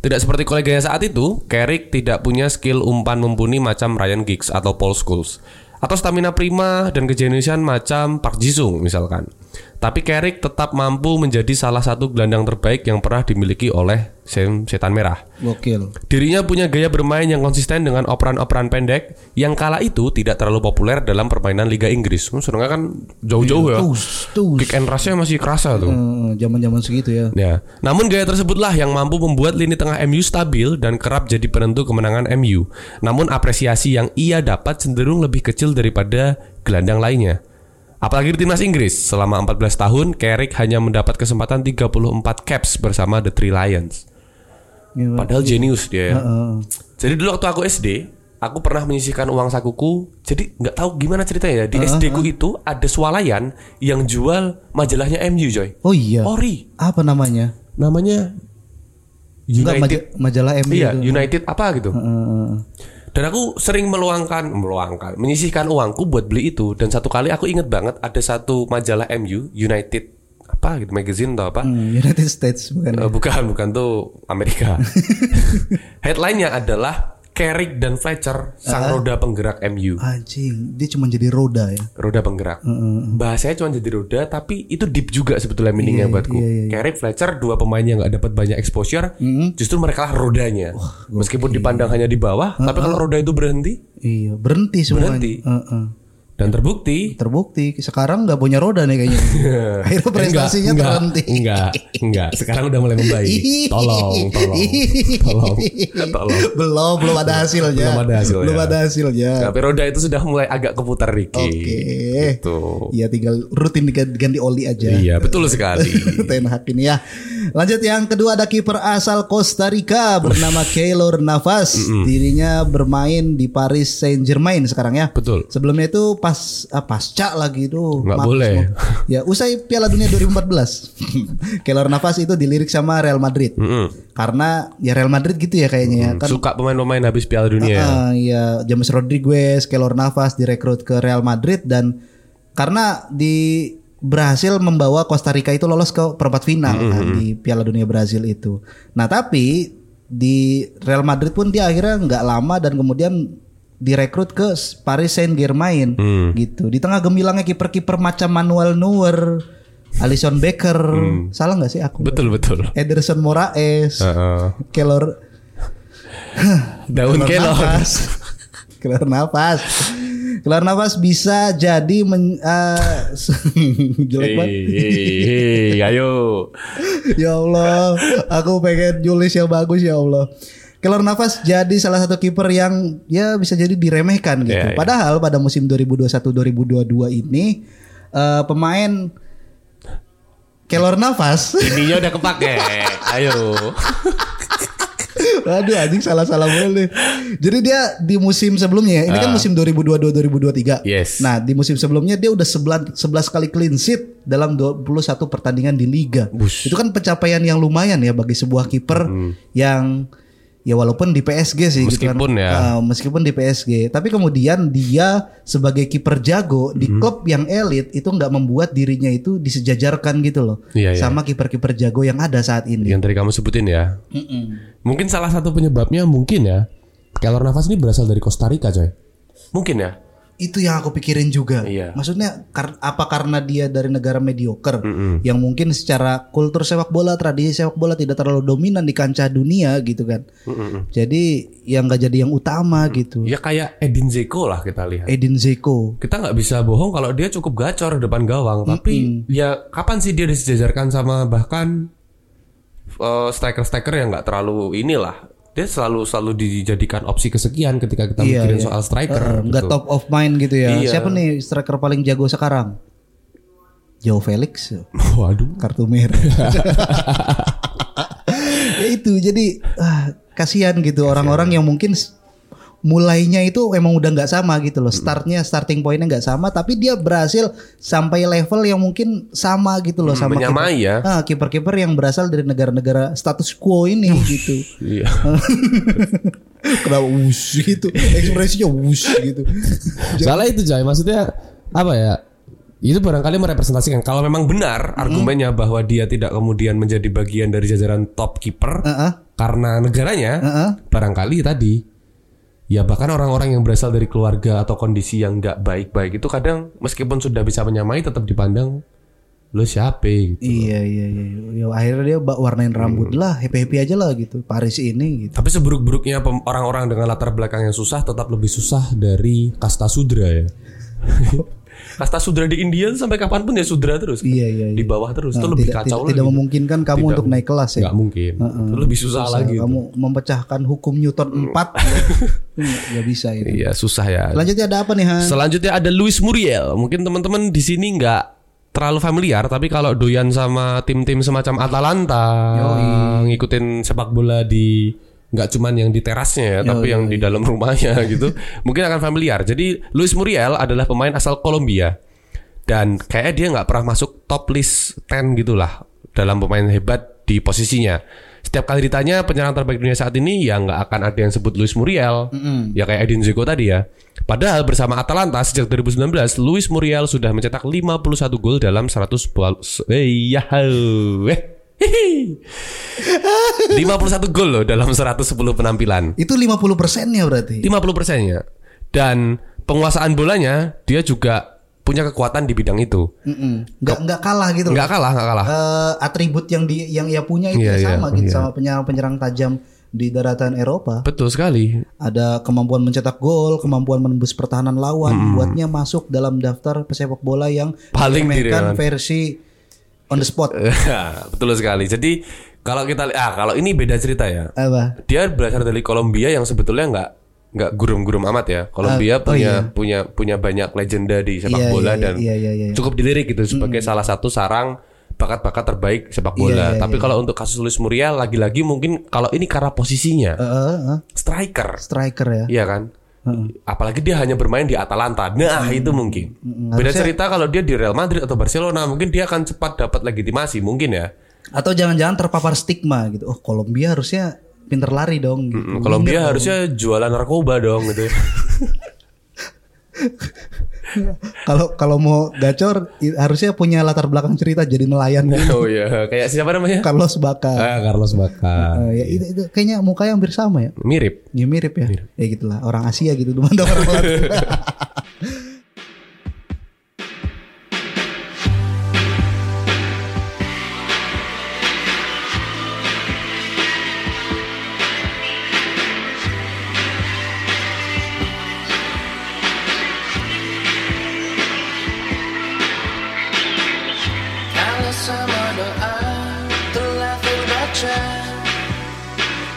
Speaker 3: Tidak seperti koleganya saat itu, Carrick tidak punya skill umpan mumpuni macam Ryan Giggs atau Paul Scholes atau stamina prima dan kejeniusan macam Park Jisung misalkan. Tapi Carrick tetap mampu menjadi salah satu gelandang terbaik yang pernah dimiliki oleh Sam Setan Merah.
Speaker 2: Gokil.
Speaker 3: Dirinya punya gaya bermain yang konsisten dengan operan-operan pendek yang kala itu tidak terlalu populer dalam permainan Liga Inggris. Hmm, Sedangkan kan jauh-jauh ya.
Speaker 2: Iya. Tus, tus.
Speaker 3: Kick and rush-nya masih kerasa tuh.
Speaker 2: Eh, Zaman-zaman segitu ya.
Speaker 3: Ya. Namun gaya tersebutlah yang mampu membuat lini tengah MU stabil dan kerap jadi penentu kemenangan MU. Namun apresiasi yang ia dapat cenderung lebih kecil daripada gelandang lainnya. Apalagi di timnas Inggris, selama 14 tahun, Carrick hanya mendapat kesempatan 34 caps bersama The Three Lions. Padahal jenius dia. ya. Jadi dulu waktu aku SD, aku pernah menyisihkan uang sakuku. Jadi nggak tahu gimana ceritanya ya. Di SD ku itu ada swalayan yang jual majalahnya MU Joy.
Speaker 2: Oh iya.
Speaker 3: Ori
Speaker 2: Apa namanya?
Speaker 3: namanya United.
Speaker 2: Enggak maja- majalah MU
Speaker 3: Iya,
Speaker 2: itu.
Speaker 3: United apa gitu.
Speaker 2: Heeh.
Speaker 3: Dan aku sering meluangkan, meluangkan, menyisihkan uangku buat beli itu. Dan satu kali aku inget banget ada satu majalah MU United apa gitu magazine atau apa.
Speaker 2: Hmm, United States bukan. ya?
Speaker 3: Eh, bukan, bukan tuh Amerika. Headline-nya adalah Carrick dan Fletcher sang roda penggerak MU.
Speaker 2: Anjing, dia cuma jadi roda ya.
Speaker 3: Roda penggerak. Bahasanya cuma jadi roda tapi itu deep juga sebetulnya meaningnya buatku. Carrick Fletcher dua pemain yang nggak dapat banyak exposure, justru mereka lah rodanya. Meskipun dipandang hanya di bawah, tapi kalau roda itu berhenti
Speaker 2: Iya, berhenti semuanya.
Speaker 3: Berhenti.
Speaker 2: Heeh.
Speaker 3: dan terbukti
Speaker 2: Terbukti sekarang nggak punya roda nih kayaknya. Akhirnya prestasinya
Speaker 3: Iya. enggak,
Speaker 2: terhenti.
Speaker 3: Enggak, enggak. Sekarang udah mulai membaik. Tolong, tolong. Tolong. Tolong.
Speaker 2: belum belum ada hasilnya.
Speaker 3: Belum ada hasilnya.
Speaker 2: Belum ada hasilnya.
Speaker 3: Tapi roda itu sudah mulai agak keputar dikit.
Speaker 2: Nah. Oke.
Speaker 3: Gitu.
Speaker 2: Ya tinggal rutin diganti ganti oli aja.
Speaker 3: Iya, betul sekali.
Speaker 2: Ten Hag ini ya. Lanjut yang kedua ada kiper asal Costa Rica bernama Keylor Navas. Dirinya bermain di Paris Saint-Germain sekarang ya.
Speaker 3: Betul.
Speaker 2: Sebelumnya itu pas ah, pasca lagi tuh.
Speaker 3: Nggak
Speaker 2: Maaf,
Speaker 3: boleh.
Speaker 2: semua. Ya, usai Piala Dunia 2014. Keylor Navas itu dilirik sama Real
Speaker 3: Mm.
Speaker 2: Madrid. Karena ya Real Madrid gitu ya kayaknya ya. Kan
Speaker 3: Suka pemain-pemain habis Piala Dunia.
Speaker 2: Ah, iya, James Rodriguez, Keylor Navas direkrut ke Real Madrid dan karena di berhasil membawa Costa Rica itu lolos ke perempat final kan, di Piala Dunia Brazil itu. Nah, tapi di Real Madrid pun dia akhirnya nggak lama dan kemudian direkrut ke Paris Saint Germain gitu. Di tengah gemilangnya kiper-kiper macam Manuel Neuer, Alisson Becker, salah nggak sih aku?
Speaker 3: Betul, Ah. betul.
Speaker 2: Ederson Moraes, Keylor
Speaker 3: Daun kelor.
Speaker 2: nafas. Keluar nafas. Keluar nafas bisa jadi men, eh, jelek
Speaker 3: Hei,
Speaker 2: banget.
Speaker 3: hei, hei, ayo.
Speaker 2: ya Allah, aku pengen nulis yang bagus ya Allah. Kelor Nafas jadi salah satu kiper yang ya bisa jadi diremehkan gitu.
Speaker 3: Iya, iya.
Speaker 2: Padahal pada musim 2021-2022 ini eh, pemain Kelor Nafas,
Speaker 3: Ininya udah kepake. Ayo.
Speaker 2: aduh anjing salah-salah mulu. Jadi dia di musim sebelumnya, ini kan musim
Speaker 3: Ah.
Speaker 2: 2022-2023.
Speaker 3: Yes.
Speaker 2: Nah, di musim sebelumnya dia udah 11, 11 kali clean sheet dalam 21 pertandingan di liga. Itu kan pencapaian yang lumayan ya bagi sebuah kiper yang ya walaupun di PSG sih gitu
Speaker 3: Hmm.
Speaker 2: kan.
Speaker 3: Meskipun ya.
Speaker 2: Eh, meskipun di PSG, tapi kemudian dia sebagai kiper jago di
Speaker 3: Hmm.
Speaker 2: klub yang elit itu nggak membuat dirinya itu disejajarkan gitu loh.
Speaker 3: Iya, iya.
Speaker 2: sama kiper-kiper jago yang ada saat ini.
Speaker 3: Yang tadi kamu sebutin ya. Mungkin salah satu penyebabnya mungkin ya. Kelor Nafas ini berasal dari Costa Rica, coy. Mungkin ya.
Speaker 2: Itu yang aku pikirin juga.
Speaker 3: Iya.
Speaker 2: Maksudnya kar- apa karena dia dari negara mediocre yang mungkin secara kultur sepak bola, tradisi sepak bola tidak terlalu dominan di kancah dunia gitu kan. Jadi yang nggak jadi yang utama gitu.
Speaker 3: Ya kayak Edin Zeko lah kita lihat.
Speaker 2: Edin Zeko.
Speaker 3: kita nggak bisa bohong kalau dia cukup gacor depan gawang tapi ya kapan sih dia disejajarkan sama bahkan eh, striker-striker yang nggak terlalu inilah dia selalu selalu dijadikan opsi kesekian ketika kita
Speaker 2: Iya,
Speaker 3: mikirin
Speaker 2: iya.
Speaker 3: soal striker
Speaker 2: Eh,
Speaker 3: gitu.
Speaker 2: nggak top of mind gitu ya.
Speaker 3: Iya.
Speaker 2: Siapa nih striker paling jago sekarang? Joe Felix.
Speaker 3: waduh
Speaker 2: kartu merah. ya itu jadi ah, kasihan gitu orang-orang yang mungkin s- mulainya itu emang udah nggak sama gitu loh startnya starting pointnya nggak sama tapi dia berhasil sampai level yang mungkin sama gitu loh sama
Speaker 3: menyamai ya.
Speaker 2: Ah, kiper-kiper yang berasal dari negara-negara status quo ini gitu
Speaker 3: iya
Speaker 2: kenapa wush gitu ekspresinya wush gitu
Speaker 5: Salah itu Jai Maksudnya Apa ya
Speaker 3: itu barangkali merepresentasikan kalau memang benar argumennya bahwa dia tidak kemudian menjadi bagian dari jajaran top kiper
Speaker 2: Heeh.
Speaker 3: karena negaranya
Speaker 2: Heeh.
Speaker 3: barangkali tadi ya bahkan orang-orang yang berasal dari keluarga atau kondisi yang nggak baik-baik itu kadang meskipun sudah bisa menyamai tetap dipandang lo siapa gitu.
Speaker 2: iya iya iya Ya, akhirnya dia ba- warnain rambut lah happy happy aja lah gitu Paris ini gitu
Speaker 3: Tapi seburuk-buruknya pem- orang-orang dengan latar belakang yang susah tetap lebih susah dari kasta sudra ya. kasta sudra di India tuh sampai kapanpun ya sudra terus.
Speaker 2: Iya, iya, iya.
Speaker 3: Di bawah terus itu
Speaker 2: Nah,
Speaker 3: lebih
Speaker 2: tidak,
Speaker 3: kacau
Speaker 2: tidak,
Speaker 3: lagi.
Speaker 2: tidak memungkinkan kamu
Speaker 3: Tidak
Speaker 2: untuk naik kelas ya
Speaker 3: Nggak mungkin. Itu lebih susah,
Speaker 2: Susah.
Speaker 3: lagi.
Speaker 2: kamu memecahkan hukum Newton 4 nggak bisa itu
Speaker 3: Iya susah ya.
Speaker 2: lanjutnya ada apa nih Han?
Speaker 3: Selanjutnya ada Luis Muriel. Mungkin teman-teman di sini nggak terlalu familiar tapi kalau doyan sama tim-tim semacam Atalanta ngikutin sepak bola di nggak cuman yang di terasnya ya, tapi yang di dalam rumahnya gitu mungkin akan familiar jadi Luis Muriel adalah pemain asal Kolombia dan kayaknya dia nggak pernah masuk top list 10 gitulah dalam pemain hebat di posisinya setiap kali ditanya penyerang terbaik dunia saat ini ya nggak akan ada yang sebut Luis Muriel ya kayak Edin Dzeko tadi ya padahal bersama Atalanta sejak 2019 Luis Muriel sudah mencetak 51 gol dalam 100 bola eh, yahoo. Eh, hihi. 51 gol loh dalam 110 penampilan
Speaker 2: Itu 50 persennya berarti.
Speaker 3: 50 persennya ya. dan penguasaan bolanya dia juga punya kekuatan di bidang itu
Speaker 2: Mm-mm. Nggak nggak kalah gitu. loh.
Speaker 3: nggak kalah nggak kalah
Speaker 2: Eh, atribut yang di yang ia punya itu
Speaker 3: Iya,
Speaker 2: ya sama
Speaker 3: iya,
Speaker 2: gitu
Speaker 3: iya.
Speaker 2: sama penyerang-penyerang tajam di daratan Eropa.
Speaker 3: betul sekali
Speaker 2: Ada kemampuan mencetak gol, kemampuan menembus pertahanan lawan, buatnya masuk dalam daftar pesepak bola yang
Speaker 3: Paling Eh.
Speaker 2: dimainkan
Speaker 3: direwan.
Speaker 2: versi on the spot.
Speaker 3: betul sekali jadi kalau kita li- ah kalau ini beda cerita ya
Speaker 2: Apa?
Speaker 3: dia berasal dari Kolombia yang sebetulnya nggak nggak gurum-gurum amat ya Kolombia
Speaker 2: oh
Speaker 3: punya
Speaker 2: iya.
Speaker 3: punya punya banyak legenda di sepak
Speaker 2: Iya,
Speaker 3: bola
Speaker 2: iya,
Speaker 3: dan
Speaker 2: iya, iya, iya.
Speaker 3: cukup dilirik gitu sebagai salah satu sarang bakat-bakat terbaik sepak bola
Speaker 2: iya,
Speaker 3: tapi kalau untuk kasus Luis Muriel lagi-lagi mungkin kalau ini karena posisinya
Speaker 2: Eh, eh, eh,
Speaker 3: striker
Speaker 2: striker ya.
Speaker 3: Iya kan? Apalagi dia hanya bermain di Atalanta. Nah, itu mungkin. Beda cerita kalau dia di Real Madrid atau Barcelona, mungkin dia akan cepat dapat legitimasi, mungkin ya.
Speaker 2: Atau jangan-jangan terpapar stigma gitu. Oh, Kolombia harusnya pinter lari dong gitu.
Speaker 3: Mm, Kolombia harusnya jualan narkoba dong gitu.
Speaker 2: Kalau kalau mau gacor i- harusnya punya latar belakang cerita jadi nelayan gitu.
Speaker 3: oh iya, kayak siapa namanya?
Speaker 2: Carlos Baca.
Speaker 5: Ah, iya. Carlos Bacca.
Speaker 2: Eh, ya itu, itu kayaknya mukanya hampir sama ya.
Speaker 3: Mirip.
Speaker 2: Ya mirip ya. Ya gitulah orang Asia gitu teman orang Latin.
Speaker 6: Kalau semua doa telah terbaca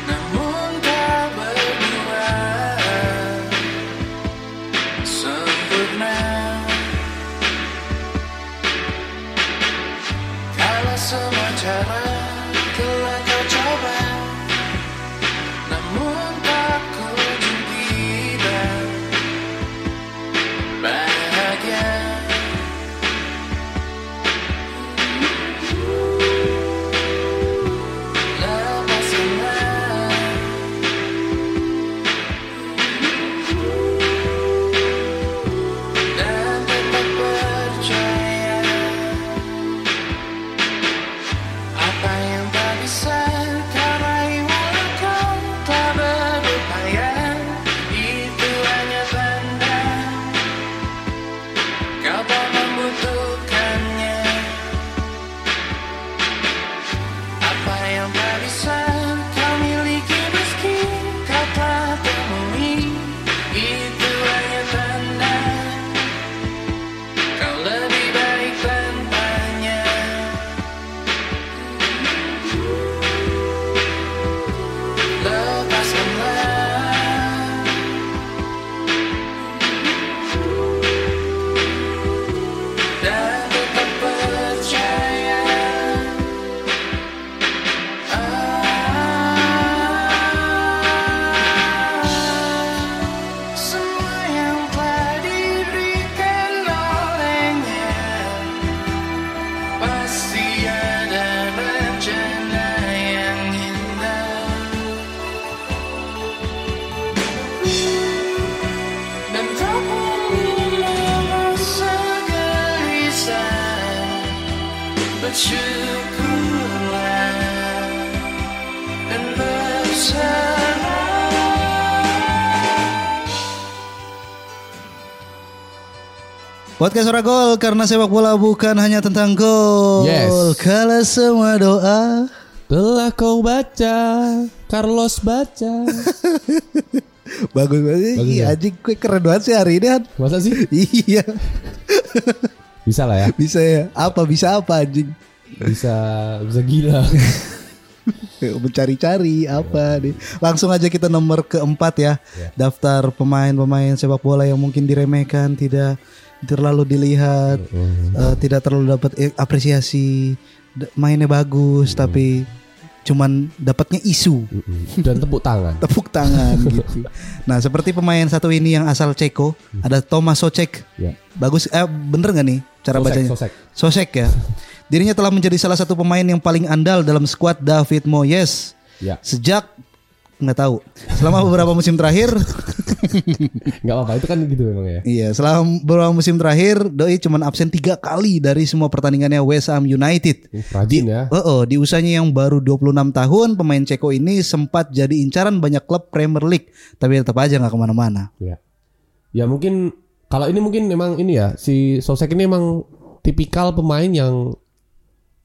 Speaker 6: Namun kau berdua Sempurna Kalau semua cara telah kau coba Namun tak kunjung tiba Bahagia Apa yang tak bisa kau raih walau kau tak berupaya Itu hanya tanda Kau tak membutuhkannya apa yang tak bisa kau miliki meski kau tak temui Itu hanya tanda Kau lebih baik tanpanya Lepaskanlah Dan tetap percaya Semua yang telah diberikan olehnya Pasti ada rencana yang indah Dan kau pun merasa gelisah Bersyukurlah dan berserah.
Speaker 2: Podcast Ora Gol karena sepak bola bukan hanya tentang gol.
Speaker 5: Yes.
Speaker 2: Kalau semua doa
Speaker 5: Telah kau baca, Carlos baca.
Speaker 2: bagus banget.
Speaker 5: Bagus
Speaker 2: Iya,
Speaker 5: ya?
Speaker 2: anjing gue keren banget sih hari ini. Han.
Speaker 5: Masa sih?
Speaker 2: iya.
Speaker 5: Bisa lah ya.
Speaker 2: bisa ya. Apa bisa apa anjing?
Speaker 5: Bisa bisa gila.
Speaker 2: mencari-cari apa nih. Langsung aja kita
Speaker 5: Ya.
Speaker 2: nomor keempat ya. Daftar pemain-pemain sepak bola yang mungkin diremehkan, tidak terlalu dilihat,
Speaker 5: Mm-hmm.
Speaker 2: eh, tidak terlalu dapat eh, apresiasi, D- mainnya bagus
Speaker 5: Mm-hmm.
Speaker 2: tapi cuman dapatnya isu,
Speaker 5: dan tepuk tangan.
Speaker 2: tepuk tangan gitu. Nah, seperti pemain satu ini yang asal Ceko, ada Thomas Socek.
Speaker 5: Mm-hmm. Ya.
Speaker 2: Bagus eh bener gak nih cara
Speaker 5: Sosek,
Speaker 2: bacanya?
Speaker 5: sosek.
Speaker 2: Sosek ya. Dirinya telah menjadi salah satu pemain yang paling andal dalam skuad David Moyes.
Speaker 5: Ya.
Speaker 2: Sejak nggak tahu. Selama beberapa musim terakhir,
Speaker 5: Enggak apa-apa, itu kan gitu memang ya.
Speaker 2: iya, selama beberapa musim terakhir Doi cuman absen tiga kali dari semua pertandingannya West Ham United.
Speaker 5: Rajin ya.
Speaker 2: Oh, di usianya yang baru 26 tahun, pemain Ceko ini sempat jadi incaran banyak klub Premier League, tapi tetap aja nggak kemana-mana.
Speaker 5: Ya. Ya mungkin kalau ini mungkin memang ini ya si Sosek ini emang tipikal pemain yang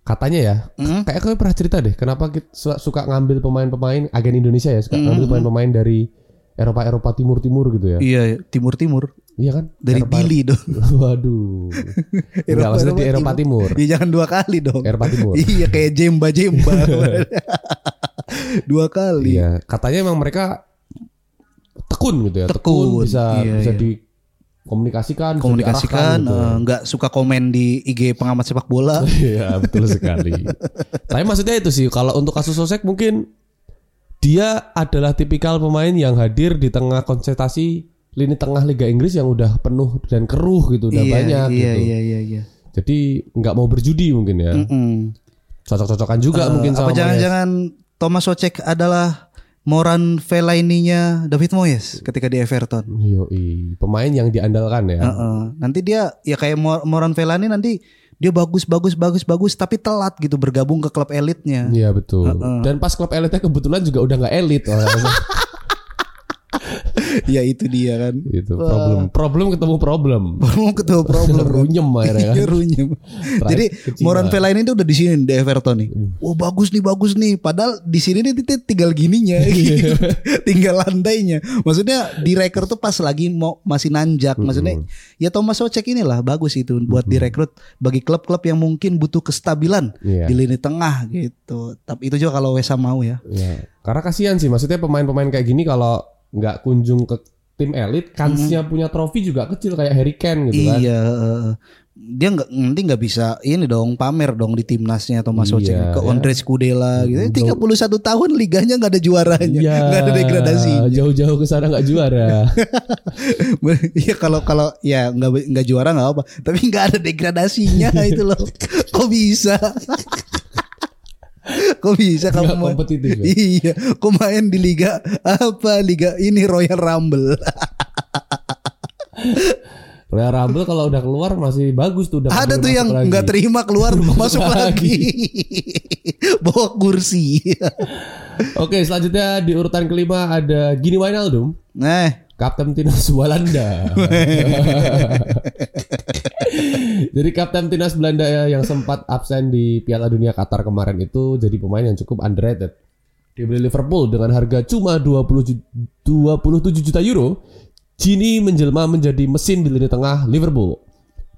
Speaker 5: katanya ya
Speaker 2: Hmm?
Speaker 5: kayak kau pernah cerita deh kenapa kita su- suka ngambil pemain-pemain agen Indonesia ya suka ngambil pemain-pemain dari Eropa Eropa Timur Timur gitu ya.
Speaker 2: Iya, timur-timur
Speaker 5: Iya kan?
Speaker 2: dari
Speaker 5: Eropa-
Speaker 2: Dili dong.
Speaker 5: Waduh. Enggak maksudnya di Eropa Timur.
Speaker 2: Ya jangan dua kali dong.
Speaker 5: Eropa Timur.
Speaker 2: iya kayak jemba jemba. dua kali.
Speaker 5: Iya, katanya emang mereka tekun gitu ya. Tekun,
Speaker 2: Tekun,
Speaker 5: bisa
Speaker 2: iya,
Speaker 5: bisa
Speaker 2: iya.
Speaker 5: dikomunikasikan, bisa
Speaker 2: Komunikasikan,
Speaker 5: diarahkan gitu.
Speaker 2: eh, nggak suka komen di IG pengamat sepak bola.
Speaker 5: Iya betul sekali. Tapi maksudnya itu sih kalau untuk kasus Sosek mungkin dia adalah tipikal pemain yang hadir di tengah konsentrasi lini tengah Liga Inggris yang udah penuh dan keruh gitu udah
Speaker 2: iya,
Speaker 5: banyak
Speaker 2: iya,
Speaker 5: gitu.
Speaker 2: iya, iya, iya.
Speaker 5: Jadi nggak mau berjudi mungkin ya.
Speaker 2: Mm.
Speaker 5: Cocok-cocokan juga
Speaker 2: Eh,
Speaker 5: mungkin
Speaker 2: apa
Speaker 5: sama Moyes.
Speaker 2: jangan-jangan Thomas Socek adalah Moran Fellaini-nya David Moyes ketika di Everton.
Speaker 5: Yoi, pemain yang diandalkan ya.
Speaker 2: Heeh. Nanti dia ya kayak Mor- Moran Fellaini nanti dia bagus bagus bagus bagus tapi telat gitu bergabung ke klub elitnya.
Speaker 5: Iya betul. Dan pas klub elitnya kebetulan juga udah nggak elit. oh, orang-orang.
Speaker 2: ya itu dia kan.
Speaker 5: itu Gitu. problem. Problem ketemu problem.
Speaker 2: Baru ketemu problem.
Speaker 5: Runyem akhirnya kan.
Speaker 2: Iya, runyem. Jadi
Speaker 5: kecil
Speaker 2: Moran Fellaini itu udah di sini di Everton nih.
Speaker 5: Hmm.
Speaker 2: Wah bagus nih bagus nih. Padahal di sini nih titik tinggal gininya,
Speaker 5: Iya.
Speaker 2: gitu. tinggal lantainya. Maksudnya direkrut tuh pas lagi mau masih nanjak.
Speaker 5: Hmm.
Speaker 2: Maksudnya ya Thomas Socek inilah bagus itu buat direkrut bagi klub-klub yang mungkin butuh kestabilan
Speaker 5: Iya.
Speaker 2: di lini tengah gitu. Tapi itu juga kalau Wesa mau ya.
Speaker 5: Ya, karena kasihan sih maksudnya pemain-pemain kayak gini kalau nggak kunjung ke tim elit, kansnya punya trofi juga kecil kayak Harry Kane gitu kan.
Speaker 2: Iya, eh, dia nggak nanti nggak bisa ini dong pamer dong di timnasnya Thomas
Speaker 5: Iya,
Speaker 2: Socek ke
Speaker 5: ya.
Speaker 2: Andres Kudela gitu. 31 tahun liganya nggak ada juaranya,
Speaker 5: Iya,
Speaker 2: nggak ada degradasinya.
Speaker 5: Jauh-jauh ke sana nggak juara.
Speaker 2: Iya kalau kalau ya nggak nggak juara nggak apa, tapi nggak ada degradasinya itu loh. Kok bisa? Kok bisa kamu
Speaker 5: Nggak
Speaker 2: main-
Speaker 5: kompetitif ya?
Speaker 2: Iya, kok main di liga apa? Liga ini Royal Rumble.
Speaker 5: Royal Rumble kalau udah keluar masih bagus tuh. Udah
Speaker 2: Ada
Speaker 5: keburu
Speaker 2: tuh
Speaker 5: masuk
Speaker 2: yang
Speaker 5: lagi.
Speaker 2: nggak terima keluar masuk lagi. Bawa kursi.
Speaker 5: Oke, selanjutnya di urutan kelima ada Gini Wijnaldum,
Speaker 2: nah,
Speaker 5: Kapten Timnas Belanda. jadi Kapten Timnas Belanda ya, yang sempat absen di Piala Dunia Qatar kemarin itu jadi pemain yang cukup underrated. Dibeli Liverpool dengan harga cuma 20 ju- 27 juta euro, Gini menjelma menjadi mesin di lini tengah Liverpool.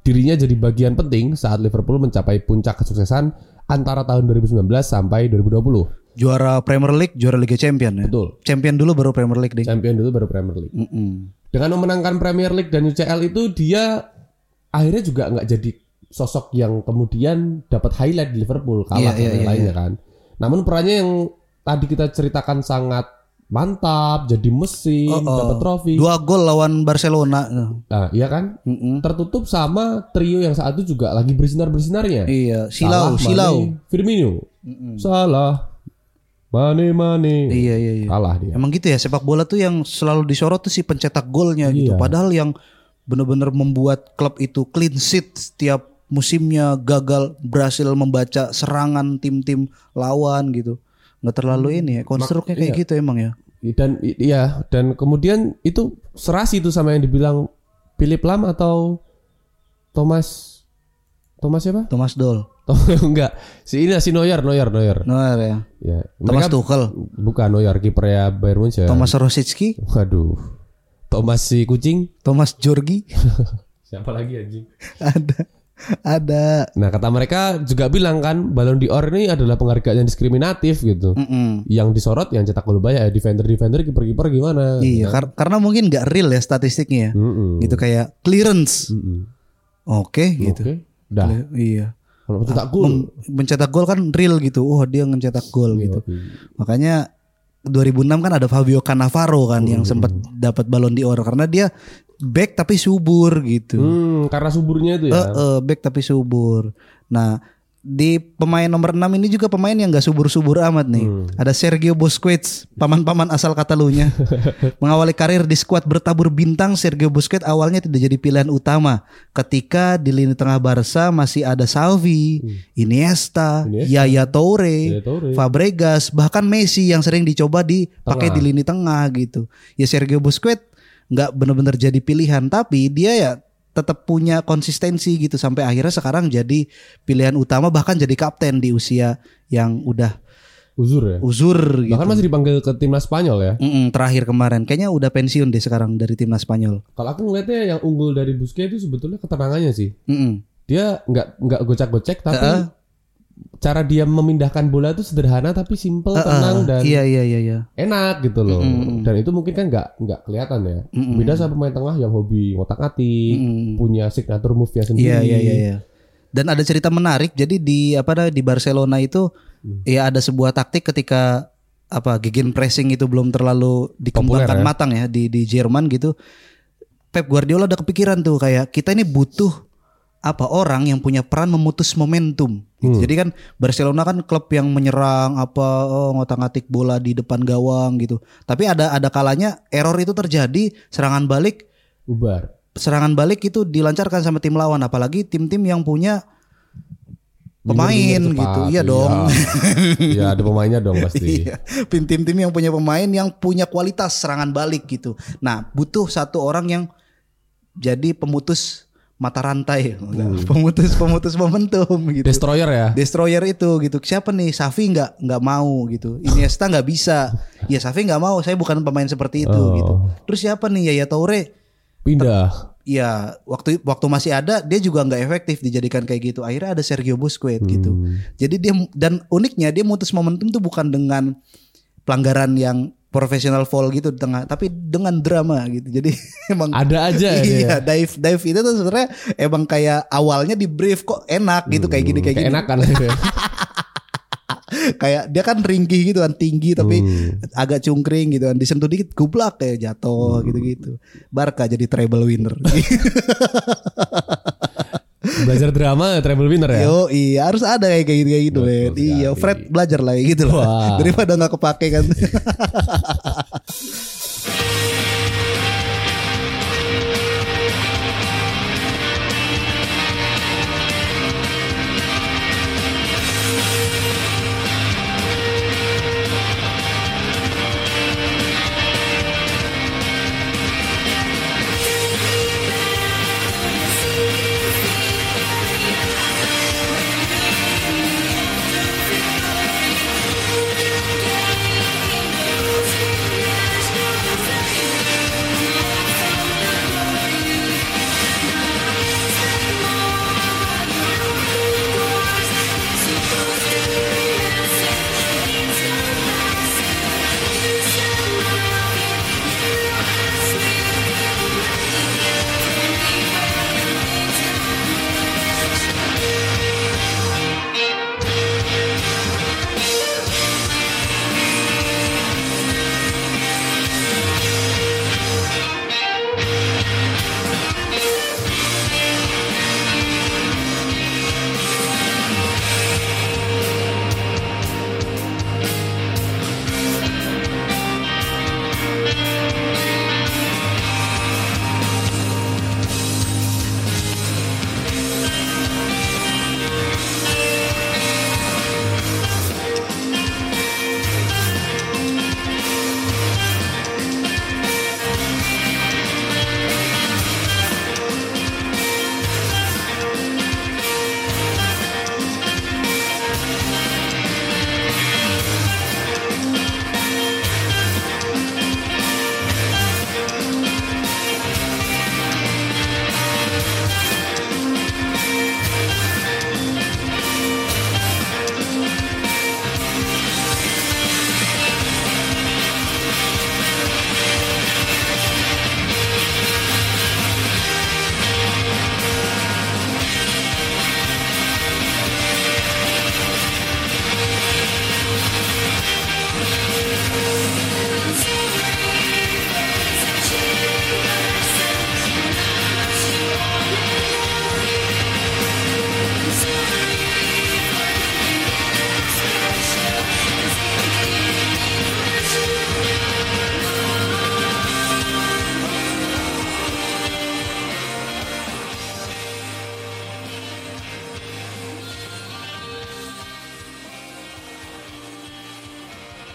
Speaker 5: Dirinya jadi bagian penting saat Liverpool mencapai puncak kesuksesan antara tahun 2019 sampai 2020.
Speaker 2: juara Premier League, juara Liga Champion ya.
Speaker 5: Betul.
Speaker 2: Champion dulu baru Premier League deh.
Speaker 5: Champion dulu baru Premier League.
Speaker 2: Mm-mm.
Speaker 5: Dengan memenangkan Premier League dan UCL itu dia akhirnya juga nggak jadi sosok yang kemudian dapat highlight di Liverpool
Speaker 2: Iya,
Speaker 5: kalah
Speaker 2: iya,
Speaker 5: sama yang
Speaker 2: iya,
Speaker 5: lainnya kan. Namun perannya yang tadi kita ceritakan sangat mantap, jadi mesin,
Speaker 2: Oh, oh.
Speaker 5: dapat trofi.
Speaker 2: Dua gol lawan Barcelona.
Speaker 5: Nah, iya kan?
Speaker 2: Mm-mm.
Speaker 5: Tertutup sama trio yang saat itu juga lagi bersinar-bersinarnya.
Speaker 2: Iya, silau,
Speaker 5: Salah, Mane,
Speaker 2: silau.
Speaker 5: Firmino. Salah. Mane, Mane.
Speaker 2: Iya, iya, iya.
Speaker 5: Kalah dia.
Speaker 2: Emang gitu ya sepak bola tuh yang selalu disorot tuh si pencetak golnya gitu.
Speaker 5: Iya.
Speaker 2: Padahal yang bener-bener membuat klub itu clean sheet setiap musimnya gagal berhasil membaca serangan tim-tim lawan gitu. Nggak terlalu ini ya konstruknya kayak gitu emang ya.
Speaker 5: dan i- iya dan kemudian itu serasi itu sama yang dibilang Philip Lam atau Thomas Thomas siapa?
Speaker 2: Thomas Doll.
Speaker 5: Tom, enggak. Si ini lah, si Neuer, Neuer, Neuer.
Speaker 2: Benar ya.
Speaker 5: Ya.
Speaker 2: Thomas
Speaker 5: Mereka
Speaker 2: Tuchel,
Speaker 5: bukan Neuer kiper ya Bayern Munchen.
Speaker 2: Thomas Rosicki,
Speaker 5: Waduh. Thomas si kucing.
Speaker 2: Thomas Jorgi
Speaker 5: Siapa lagi anjing?
Speaker 2: ada ada
Speaker 5: Nah, kata mereka juga bilang kan Ballon d'Or ini adalah penghargaan yang diskriminatif gitu.
Speaker 2: Mm-mm.
Speaker 5: Yang disorot yang cetak gol banyak ya defender-defender kiper-kiper gimana?
Speaker 2: Iya, kar- karena mungkin nggak real ya statistiknya ya.
Speaker 5: Mm-mm. Iya.
Speaker 2: Gitu kayak clearance.
Speaker 5: Mm-mm.
Speaker 2: Oke gitu.
Speaker 5: Oke. Dah.
Speaker 2: Iya.
Speaker 5: Kalau betul tak cool.
Speaker 2: Mem- mencetak gol kan real gitu. Wah, dia mencetak gol gitu. Makanya 2006 kan ada Fabio Cannavaro kan yang sempat dapat balon di karena dia back tapi subur gitu.
Speaker 5: Hmm, karena suburnya
Speaker 2: Eh,
Speaker 5: itu ya.
Speaker 2: eh, back tapi subur. Nah, di pemain nomor 6 ini juga pemain yang gak subur-subur amat nih. Ada Sergio Busquets, paman-paman asal Katalunya. Mengawali karir di skuad bertabur bintang, Sergio Busquets awalnya tidak jadi pilihan utama. Ketika di lini tengah Barca masih ada Salvi, Iniesta, Yaya Toure,
Speaker 5: Yaya Toure.
Speaker 2: Fabregas, bahkan Messi yang sering dicoba dipakai di lini tengah gitu. Ya Sergio Busquets nggak benar-benar jadi pilihan, tapi dia ya tetap punya konsistensi gitu sampai akhirnya sekarang jadi pilihan utama bahkan jadi kapten di usia yang udah
Speaker 5: Uzur ya.
Speaker 2: uzur gitu.
Speaker 5: Bahkan masih dipanggil ke timnas Spanyol ya.
Speaker 2: Mm-mm, terakhir kemarin kayaknya udah pensiun deh sekarang dari timnas Spanyol.
Speaker 5: Kalau aku ngelihatnya yang unggul dari Busquets itu sebetulnya ketenangannya sih.
Speaker 2: Mm-mm.
Speaker 5: Dia nggak nggak gocak-gocek tapi
Speaker 2: Heeh.
Speaker 5: cara dia memindahkan bola itu sederhana tapi simple,
Speaker 2: Ah,
Speaker 5: tenang dan
Speaker 2: iya iya iya iya.
Speaker 5: enak gitu loh. Dan itu mungkin kan nggak nggak kelihatan ya. Beda sama pemain tengah yang hobi ngotak-atik, punya signature move-nya sendiri.
Speaker 2: Iya iya iya. iya. Dan ada cerita menarik. Jadi di apa namanya, di Barcelona itu ya ada sebuah taktik ketika apa gegen pressing itu belum terlalu dikembangkan matang ya di di Jerman gitu. Pep Guardiola ada kepikiran tuh kayak kita ini butuh apa orang yang punya peran memutus momentum. Gitu. Jadi kan Barcelona kan klub yang menyerang apa oh, ngotak-ngatik bola di depan gawang gitu. Tapi ada ada kalanya error itu terjadi, serangan balik
Speaker 5: Ubar.
Speaker 2: serangan balik itu dilancarkan sama tim lawan apalagi tim-tim yang punya pemain
Speaker 5: Winger-winger
Speaker 2: gitu
Speaker 5: cepat,
Speaker 2: iya dong
Speaker 5: Iya, ada pemainnya dong pasti.
Speaker 2: Iya. tim-tim yang punya pemain yang punya kualitas serangan balik gitu nah butuh satu orang yang jadi pemutus mata rantai pemutus pemutus momentum gitu
Speaker 5: Hmm. Destroyer ya.
Speaker 2: destroyer itu gitu siapa nih Safi nggak nggak mau gitu Iniesta nggak bisa ya Safi nggak mau saya bukan pemain seperti itu
Speaker 5: Oh.
Speaker 2: gitu terus siapa nih Yaya Toure
Speaker 5: Pindah.
Speaker 2: ya waktu waktu masih ada dia juga nggak efektif dijadikan kayak gitu akhirnya ada Sergio Busquets gitu
Speaker 5: Hmm.
Speaker 2: jadi dia dan uniknya dia mutus momentum tuh bukan dengan pelanggaran yang profesional foul gitu di tengah tapi dengan drama gitu jadi emang
Speaker 5: Ada aja ya dia.
Speaker 2: iya dive dive itu tuh sebenarnya emang kayak awalnya di brief kok enak gitu
Speaker 5: Hmm,
Speaker 2: kayak gini kayak gini
Speaker 5: Keenakan.
Speaker 2: kayak dia kan ringkih gitu kan tinggi tapi
Speaker 5: Hmm.
Speaker 2: agak cungkring gitu kan disentuh dikit gublak kayak jatuh
Speaker 5: Hmm.
Speaker 2: gitu-gitu Barca jadi treble winner
Speaker 5: Belajar drama treble winner ya.
Speaker 2: Yo, iya harus ada kayak kayak gitu kayak gitu, Len. Iya, Fred belajar lah kayak gitu lah.
Speaker 5: Wah.
Speaker 2: Daripada nggak kepake kan.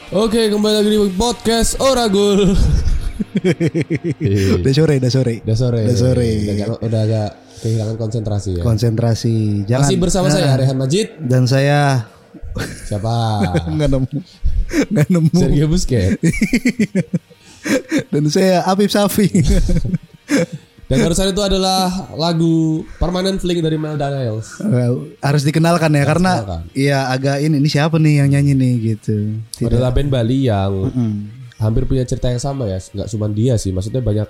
Speaker 5: Oke, kembali lagi di podcast Oragul.
Speaker 2: Udah sore, udah sore.
Speaker 5: Udah sore.
Speaker 2: Udah sore.
Speaker 5: Udah, agak- udah agak kehilangan konsentrasi ya.
Speaker 2: Konsentrasi. Jangan.
Speaker 5: Masih bersama
Speaker 2: Nah,
Speaker 5: saya Rehan Majid.
Speaker 2: Dan saya
Speaker 5: Siapa?
Speaker 2: nggak nemu. Nggak nemu.
Speaker 5: Sergio Busquets.
Speaker 2: Dan saya Afif Safi.
Speaker 5: Dan barusan itu adalah lagu Permanent Fling dari Mel Daniels.
Speaker 2: Well, Eh, harus dikenalkan ya karena
Speaker 5: dikenalkan.
Speaker 2: iya agak ini ini siapa nih yang nyanyi nih gitu. Tidak.
Speaker 5: Adalah band Bali yang hampir punya cerita yang sama ya. Nggak cuma dia sih, maksudnya banyak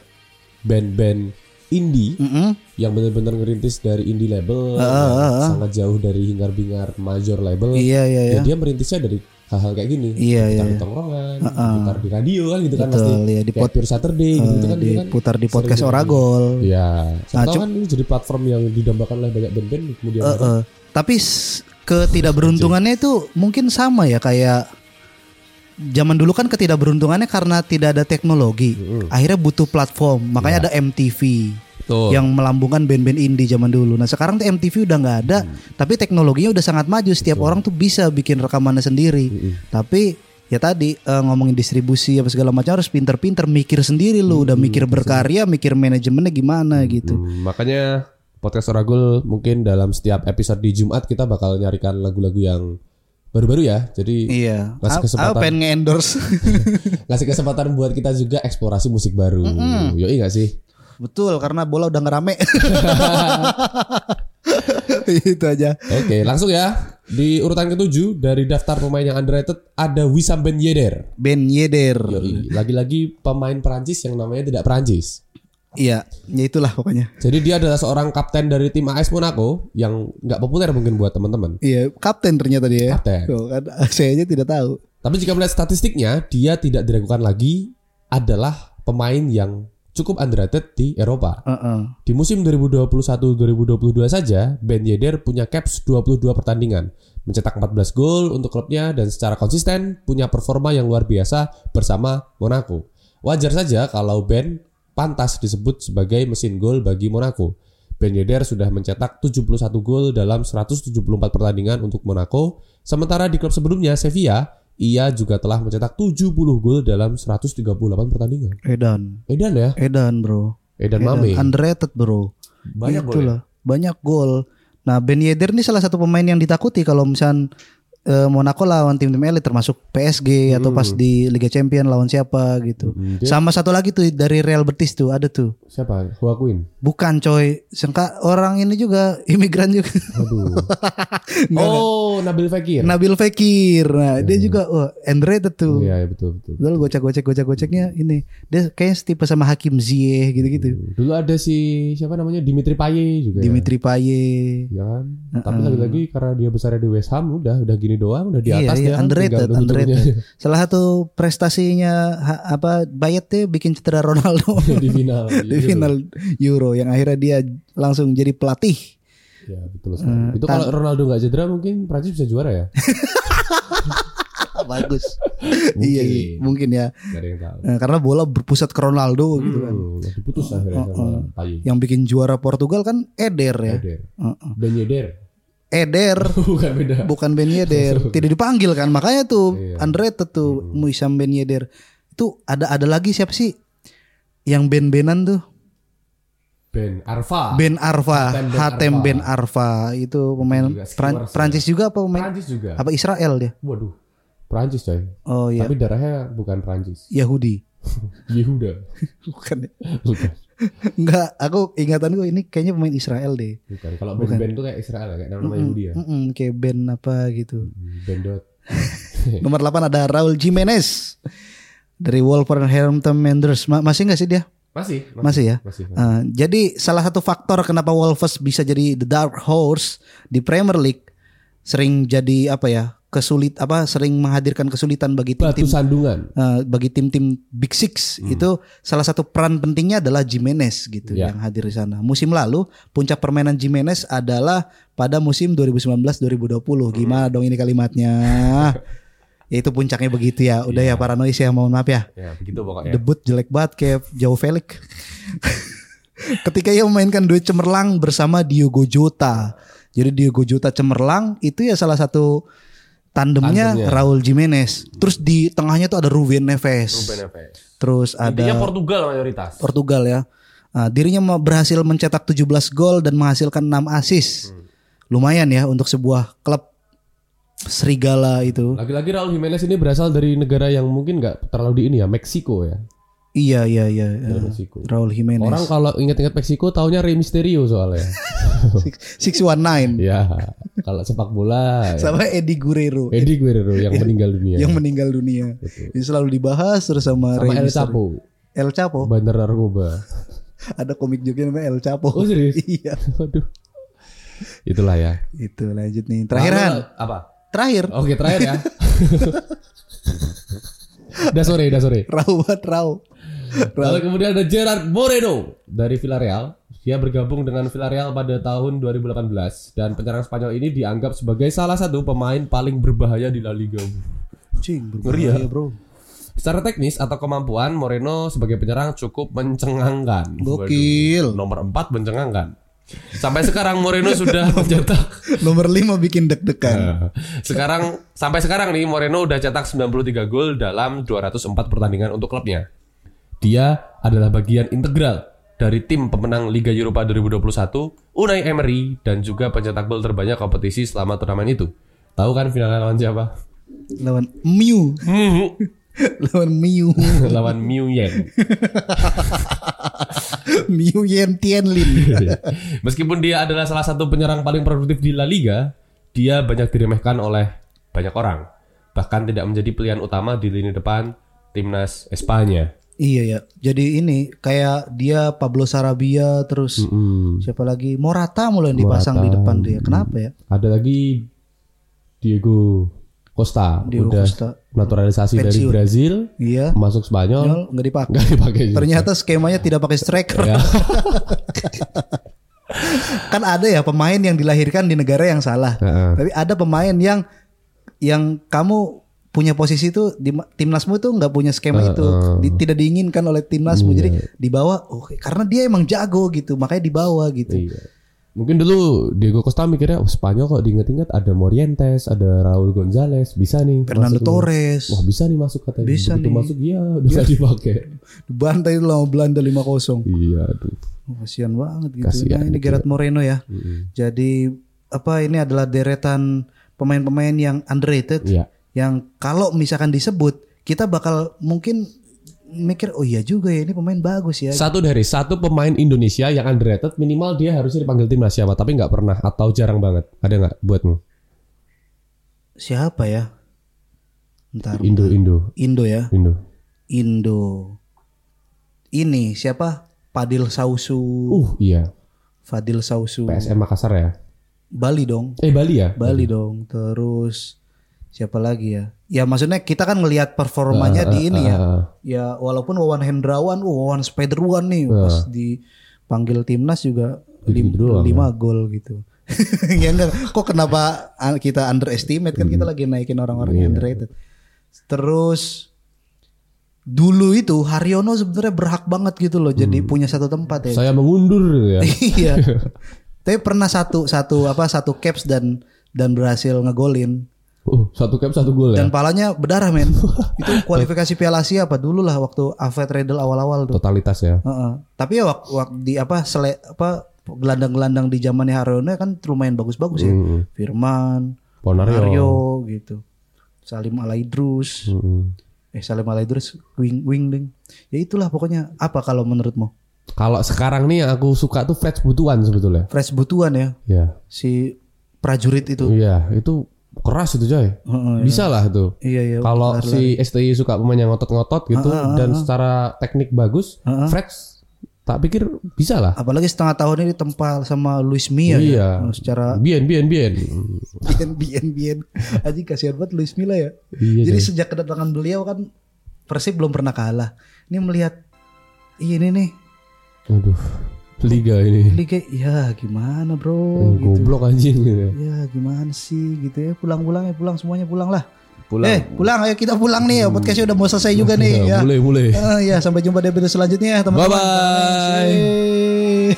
Speaker 5: band-band indie
Speaker 2: Mm-mm.
Speaker 5: yang benar-benar ngerintis dari indie label, yang sangat jauh dari hingar-bingar major
Speaker 2: Ah,
Speaker 5: label.
Speaker 2: Iya, iya,
Speaker 5: Ya,
Speaker 2: iya.
Speaker 5: dia merintisnya dari hal-hal kayak gini.
Speaker 2: Iya,
Speaker 5: gitar
Speaker 2: iya.
Speaker 5: di tongkrongan, gitar di radio kan gitu kan
Speaker 2: Betul,
Speaker 5: pasti.
Speaker 2: iya, di
Speaker 5: Kayak
Speaker 2: pod-
Speaker 5: Pure Saturday gitu kan gitu kan.
Speaker 2: Diputar di podcast
Speaker 5: Sering
Speaker 2: Oragol.
Speaker 5: Iya. Siapa
Speaker 2: Nah,
Speaker 5: tahu
Speaker 2: cu-
Speaker 5: kan ini jadi platform yang didambakan oleh banyak band-band kemudian
Speaker 2: Eh, eh. Tapi s- ketidakberuntungannya itu mungkin sama ya kayak zaman dulu kan ketidakberuntungannya karena tidak ada teknologi.
Speaker 5: Hmm.
Speaker 2: Akhirnya butuh platform, makanya ada MTV.
Speaker 5: Ya. Betul.
Speaker 2: Yang melambungkan band-band indie zaman dulu. Nah sekarang tuh MTV udah nggak ada,
Speaker 5: Hmm.
Speaker 2: tapi teknologinya udah sangat maju. Setiap orang tuh bisa bikin rekamannya sendiri.
Speaker 5: Hmm.
Speaker 2: Tapi ya tadi eh, ngomongin distribusi apa segala macam harus pinter-pinter mikir sendiri lu. Udah mikir berkarya, mikir manajemennya gimana gitu.
Speaker 5: Hmm, makanya podcast Oragul mungkin dalam setiap episode di Jumat kita bakal nyarikan lagu-lagu yang baru-baru ya. Jadi
Speaker 2: Iya.
Speaker 5: Ngasih
Speaker 2: Aku
Speaker 5: kesempatan.
Speaker 2: pengen nge-endorse.
Speaker 5: ngasih kesempatan buat kita juga eksplorasi musik baru. Yoi gak sih?
Speaker 2: Betul, karena bola udah ngerame. Itu aja.
Speaker 5: Oke, langsung ya. Di urutan ketujuh dari daftar pemain yang underrated ada Wissam Ben Yedder.
Speaker 2: Ben Yedder.
Speaker 5: Yoi, Lagi-lagi pemain Perancis yang namanya tidak Perancis.
Speaker 2: Iya, ya itulah pokoknya.
Speaker 5: Jadi dia adalah seorang kapten dari tim AS Monaco yang nggak populer mungkin buat teman-teman.
Speaker 2: Iya, kapten ternyata dia. ya.
Speaker 5: Kapten.
Speaker 2: Tuh, kan, saya aja tidak tahu.
Speaker 5: Tapi jika melihat statistiknya, dia tidak diragukan lagi adalah pemain yang cukup underrated di Eropa.
Speaker 2: Heeh.
Speaker 5: Di musim 2021-2022 saja, Ben Yedder punya caps 22 pertandingan, mencetak 14 gol untuk klubnya dan secara konsisten punya performa yang luar biasa bersama Monaco. Wajar saja kalau Ben pantas disebut sebagai mesin gol bagi Monaco. Ben Yedder sudah mencetak 71 gol dalam 174 pertandingan untuk Monaco, sementara di klub sebelumnya Sevilla, ia juga telah mencetak 70 gol dalam 138 pertandingan.
Speaker 2: Edan.
Speaker 5: Edan ya,
Speaker 2: Edan, Bro. Edan,
Speaker 5: Edan Mame.
Speaker 2: Underrated, Bro.
Speaker 5: Banyak gol ya?
Speaker 2: Itulah, Banyak gol. Nah, Ben Yedder ini salah satu pemain yang ditakuti kalau misalnya Monaco lawan tim-tim elit termasuk PSG atau
Speaker 5: Hmm.
Speaker 2: pas di Liga Champion lawan siapa gitu. Sama satu lagi tuh dari Real Betis tuh ada tuh.
Speaker 5: Siapa? Huakuin.
Speaker 2: Bukan coy, sengka orang ini juga imigran juga.
Speaker 5: Aduh. oh, Nabil Fekir.
Speaker 2: Nabil Fekir. Nah, dia juga wah, underrated tuh.
Speaker 5: Iya, iya, betul betul.
Speaker 2: Betul gocek gocek gocek goceknya ini. Dia kayaknya setipe sama Hakim Ziyech gitu-gitu.
Speaker 5: Dulu ada si siapa namanya Dimitri Paye juga. ya.
Speaker 2: Dimitri Payet.
Speaker 5: Ya kan? Tapi lagi-lagi karena dia besarnya di West Ham udah udah gini doang, udah di atas dia kan,
Speaker 2: Iya, underrated,
Speaker 5: tinggal nunggu-nunggunya
Speaker 2: underrated. Salah satu prestasinya ha- apa Bayet tuh bikin cedera Ronaldo
Speaker 5: aja Iya, di final.
Speaker 2: di final Euro yang akhirnya dia langsung jadi pelatih.
Speaker 5: Ya, betul sekali.
Speaker 2: Mm,
Speaker 5: Itu kalau Ronaldo nggak cedera mungkin Prancis bisa juara ya?
Speaker 2: Bagus. iya, iya, mungkin ya.
Speaker 5: Gak ada yang tahu.
Speaker 2: Nah, karena bola berpusat ke Ronaldo gitu kan. Iya.
Speaker 5: Hmm, diputus akhirnya sama Paye.
Speaker 2: Yang bikin juara Portugal kan Eder ya.
Speaker 5: Eder.
Speaker 2: Heeh.
Speaker 5: Ben Yedder.
Speaker 2: Eder
Speaker 5: Bukan beda.
Speaker 2: bukan Ben Yedder. Tidak dipanggil kan makanya tuh
Speaker 5: Iya.
Speaker 2: underrated tuh
Speaker 5: Hmm.
Speaker 2: Muisam Ben Yedder. Itu ada ada lagi siapa sih? Yang ben-benan tuh.
Speaker 5: Ben Arfa.
Speaker 2: Ben Arfa,
Speaker 5: Hatem Ah, Ben
Speaker 2: Hatem
Speaker 5: Arfa.
Speaker 2: Ben Arfa itu pemain
Speaker 5: Juga
Speaker 2: Pran-
Speaker 5: skillers ya.
Speaker 2: Prancis juga apa pemain
Speaker 5: Prancis juga.
Speaker 2: apa Israel dia?
Speaker 5: Waduh. Prancis coy.
Speaker 2: Oh iya,
Speaker 5: Tapi darahnya bukan Prancis.
Speaker 2: Yahudi.
Speaker 5: Yehuda.
Speaker 2: Bukan. ya?
Speaker 5: Bukan.
Speaker 2: Enggak, aku ingatanku ini kayaknya pemain Israel deh. Hmm.
Speaker 5: Bukan. Kalau band-band tuh kayak Israel ya, kayak nama-nama Yahudi ya. Hmm.
Speaker 2: Mm-mm, kayak Ben apa gitu.
Speaker 5: Bendot.
Speaker 2: Nomor 8 ada Raul Jimenez dari Wolverhampton Wanderers. Ma- masih nggak sih dia?
Speaker 5: Masih,
Speaker 2: Masih ya.
Speaker 5: Masih.
Speaker 2: Eh, jadi salah satu faktor kenapa Wolves bisa jadi the dark horse di Premier League sering jadi apa ya? kesulit apa sering menghadirkan kesulitan bagi
Speaker 5: Batu
Speaker 2: tim-tim
Speaker 5: sandungan.
Speaker 2: eh, bagi tim-tim Big Six itu salah satu peran pentingnya adalah Jimenez gitu
Speaker 5: Ya.
Speaker 2: yang hadir di sana. Musim lalu puncak permainan Jimenez adalah pada musim 2019-2020. Gimana dong ini kalimatnya? ya itu puncaknya begitu ya. Udah ya paranois ya, mohon maaf ya.
Speaker 5: Ya, begitu pokoknya.
Speaker 2: Debut jelek banget kayak jauh Felix. Ketika ia memainkan duet cemerlang bersama Diogo Jota. Jadi Diogo Jota cemerlang itu ya salah satu Tandemnya,
Speaker 5: Tandemnya.
Speaker 2: Raul Jimenez. Terus di tengahnya tuh ada Ruben Neves. Terus
Speaker 5: Intinya
Speaker 2: ada
Speaker 5: Portugal mayoritas.
Speaker 2: Portugal ya. Nah, dirinya me- berhasil mencetak 17 gol dan menghasilkan 6 assist.
Speaker 5: Hmm.
Speaker 2: Lumayan ya untuk sebuah klub serigala itu.
Speaker 5: Lagi-lagi Raul Jimenez ini berasal dari negara yang mungkin nggak terlalu di ini ya, Meksiko ya.
Speaker 2: Iya iya iya.
Speaker 5: Dari
Speaker 2: eh,
Speaker 5: Meksiko.
Speaker 2: Raul Jimenez.
Speaker 5: Orang kalau ingat-ingat Meksiko taunya Rey Mysterio soalnya.
Speaker 2: Six- 619
Speaker 5: ya, kalau sepak bola ya.
Speaker 2: sama Eddie Guerrero
Speaker 5: Eddie Guerrero yang
Speaker 2: Iya.
Speaker 5: meninggal dunia.
Speaker 2: yang meninggal dunia. Ini selalu dibahas terus sama,
Speaker 5: Iya. sama
Speaker 2: Rey
Speaker 5: El
Speaker 2: Mysterio.
Speaker 5: Chapo,
Speaker 2: El Chapo.
Speaker 5: bandar narkoba.
Speaker 2: Ada komik joget namanya El Chapo.
Speaker 5: Oh, serius?
Speaker 2: iya.
Speaker 5: Waduh. Itulah ya.
Speaker 2: Itu lanjut nih. Terakhir Han.
Speaker 5: Lalu, apa?
Speaker 2: Terakhir.
Speaker 5: Oke, terakhir ya. udah sore, udah sore.
Speaker 2: Rau banget Rau. Rau.
Speaker 5: Lalu kemudian ada Gerard Moreno dari Villarreal. Dia bergabung dengan Villarreal pada tahun 2018 dan penyerang Spanyol ini dianggap sebagai salah satu pemain paling berbahaya di La Liga.
Speaker 2: Cing,
Speaker 5: Ngeri ya.
Speaker 2: berbahaya, Bro.
Speaker 5: Secara teknis atau kemampuan Moreno sebagai penyerang cukup mencengangkan.
Speaker 2: Gokil.
Speaker 5: Waduh, nomor 4 mencengangkan. Sampai sekarang Moreno sudah mencetak
Speaker 2: Nomor 5 bikin deg-degan.
Speaker 5: Iya. sekarang sampai sekarang nih Moreno udah cetak 93 gol dalam 204 pertandingan untuk klubnya. Dia adalah bagian integral dari tim pemenang Liga Eropa 2021, Unai Emery dan juga pencetak gol terbanyak kompetisi selama turnamen itu. Tahu kan finalnya lawan siapa?
Speaker 2: Lawan Miu.
Speaker 5: Hmm.
Speaker 2: Lawan Miu.
Speaker 5: lawan Miu Yen.
Speaker 2: Miu Yen Tianlin.
Speaker 5: Iya. Meskipun dia adalah salah satu penyerang paling produktif di La Liga, dia banyak diremehkan oleh banyak orang. Bahkan tidak menjadi pilihan utama di lini depan timnas Espanya.
Speaker 2: iya ya. Jadi ini kayak dia Pablo Sarabia terus
Speaker 5: Mm.
Speaker 2: siapa lagi? Morata mulai dipasang di depan dia. Kenapa ya?
Speaker 5: Ada lagi Diego Costa
Speaker 2: Diego
Speaker 5: udah
Speaker 2: Costa.
Speaker 5: naturalisasi dari
Speaker 2: Pensiun.
Speaker 5: Brazil
Speaker 2: Iya.
Speaker 5: masuk Spanyol
Speaker 2: Nol, nggak dipakai.
Speaker 5: nggak dipakai juga.
Speaker 2: Ternyata skemanya tidak pakai striker.
Speaker 5: Ya.
Speaker 2: kan ada ya pemain yang dilahirkan di negara yang salah.
Speaker 5: Heeh.
Speaker 2: Tapi ada pemain yang yang kamu punya posisi itu di ma- timnasmu itu nggak punya skema itu, Di- tidak diinginkan oleh
Speaker 5: Iya.
Speaker 2: timnasmu. Jadi dibawa, oke, karena dia emang jago gitu, makanya dibawa gitu.
Speaker 5: Iya. Mungkin dulu Diego Costa mikirnya "Oh, Spanyol kok diinget-inget ada Morientes, ada Raul Gonzalez, bisa nih.
Speaker 2: Fernando
Speaker 5: masuk nih."
Speaker 2: Torres,
Speaker 5: Wah bisa nih masuk katanya.
Speaker 2: Bisa
Speaker 5: Begitu
Speaker 2: nih. Iya.
Speaker 5: masuk ya udah nggak dipakai.
Speaker 2: dibantai itu lawan Belanda 5-0.
Speaker 5: Iya aduh.
Speaker 2: Oh, kasihan banget gitu.
Speaker 5: Kasihan
Speaker 2: nah, ini Gerard Moreno ya. Jadi apa ini adalah deretan pemain-pemain yang underrated
Speaker 5: Iya.
Speaker 2: yang kalau misalkan disebut kita bakal mungkin mikir oh iya juga ya ini pemain bagus ya.
Speaker 5: Satu dari satu pemain Indonesia yang underrated minimal dia harusnya dipanggil timnas siapa tapi nggak pernah atau jarang banget. Ada nggak buatmu?
Speaker 2: Siapa ya? Ntar
Speaker 5: Indo Indo
Speaker 2: Indo ya.
Speaker 5: Indo.
Speaker 2: Indo. Ini siapa? Padil Sausu.
Speaker 5: Uh iya
Speaker 2: Fadil Sausu.
Speaker 5: PSM Makassar ya.
Speaker 2: Bali dong.
Speaker 5: Eh Bali ya.
Speaker 2: Bali dong. Terus siapa lagi ya? Ya maksudnya kita kan ngelihat performanya di ini ya.
Speaker 5: ah.
Speaker 2: Ya walaupun Wawan Hendrawan, oh, Wawan Spiderwan nih pas dipanggil timnas juga lim-
Speaker 5: Gitu-gitu Ah. doang,
Speaker 2: lima gol gitu. ya enggak, kok kenapa an- kita underestimate kan
Speaker 5: Hmm.
Speaker 2: kita lagi naikin orang-orang
Speaker 5: Iya.
Speaker 2: yang underrated. Terus dulu itu Haryono sebenarnya berhak banget gitu loh
Speaker 5: Hmm.
Speaker 2: jadi punya satu tempat ya.
Speaker 5: Saya mengundur gitu ya.
Speaker 2: Iya. Tapi pernah satu satu apa satu caps dan dan berhasil ngegolin
Speaker 5: Uh satu cap satu gol ya.
Speaker 2: dan palanya berdarah men. itu kualifikasi Piala Asia apa dulu lah waktu Alfred Riedel awal-awal tuh.
Speaker 5: Totalitas ya.
Speaker 2: Heeh. Tapi ya waktu di apa sele, apa gelandang-gelandang di zamannya Haryono kan lumayan bagus-bagus ya. Firman,
Speaker 5: Ponario.
Speaker 2: Ponario gitu. Salim Alaidrus.
Speaker 5: Mm-mm.
Speaker 2: Eh Salim Alaidrus wing wing ding. Ya itulah pokoknya apa kalau menurutmu?
Speaker 5: Kalau sekarang nih yang aku suka tuh Fred Butuan sebetulnya.
Speaker 2: Fresh butuan ya
Speaker 5: Ya.
Speaker 2: si prajurit itu.
Speaker 5: Iya, itu keras itu coy. Bisa lah itu.
Speaker 2: Iya iya.
Speaker 5: Kalau si STI suka pemain yang ngotot-ngotot gitu dan secara teknik bagus, Fred tak pikir bisa lah.
Speaker 2: apalagi setengah tahun ini tempat sama Luis Mia ya.
Speaker 5: Iya.
Speaker 2: Secara
Speaker 5: Bien, bien, bien.
Speaker 2: bien bien bien. Aji kasihan banget Luis Milla ya.
Speaker 5: Iya,
Speaker 2: Jadi sejak kedatangan beliau kan Persib belum pernah kalah. Ini melihat "Ih, ini nih
Speaker 5: Aduh, liga ini.
Speaker 2: liga ya gimana bro gitu.
Speaker 5: Oh, Goblok anjing gitu.
Speaker 2: Ya gimana sih gitu ya pulang-pulang ya pulang semuanya pulang lah.
Speaker 5: Pulang. Hmm. Iya,
Speaker 2: Eh pulang ayo kita pulang nih ya podcastnya udah mau selesai juga nih ya.
Speaker 5: Mulai, mulai.
Speaker 2: Eh, ya sampai jumpa di episode selanjutnya teman-teman. Bye.
Speaker 5: Bye-bye.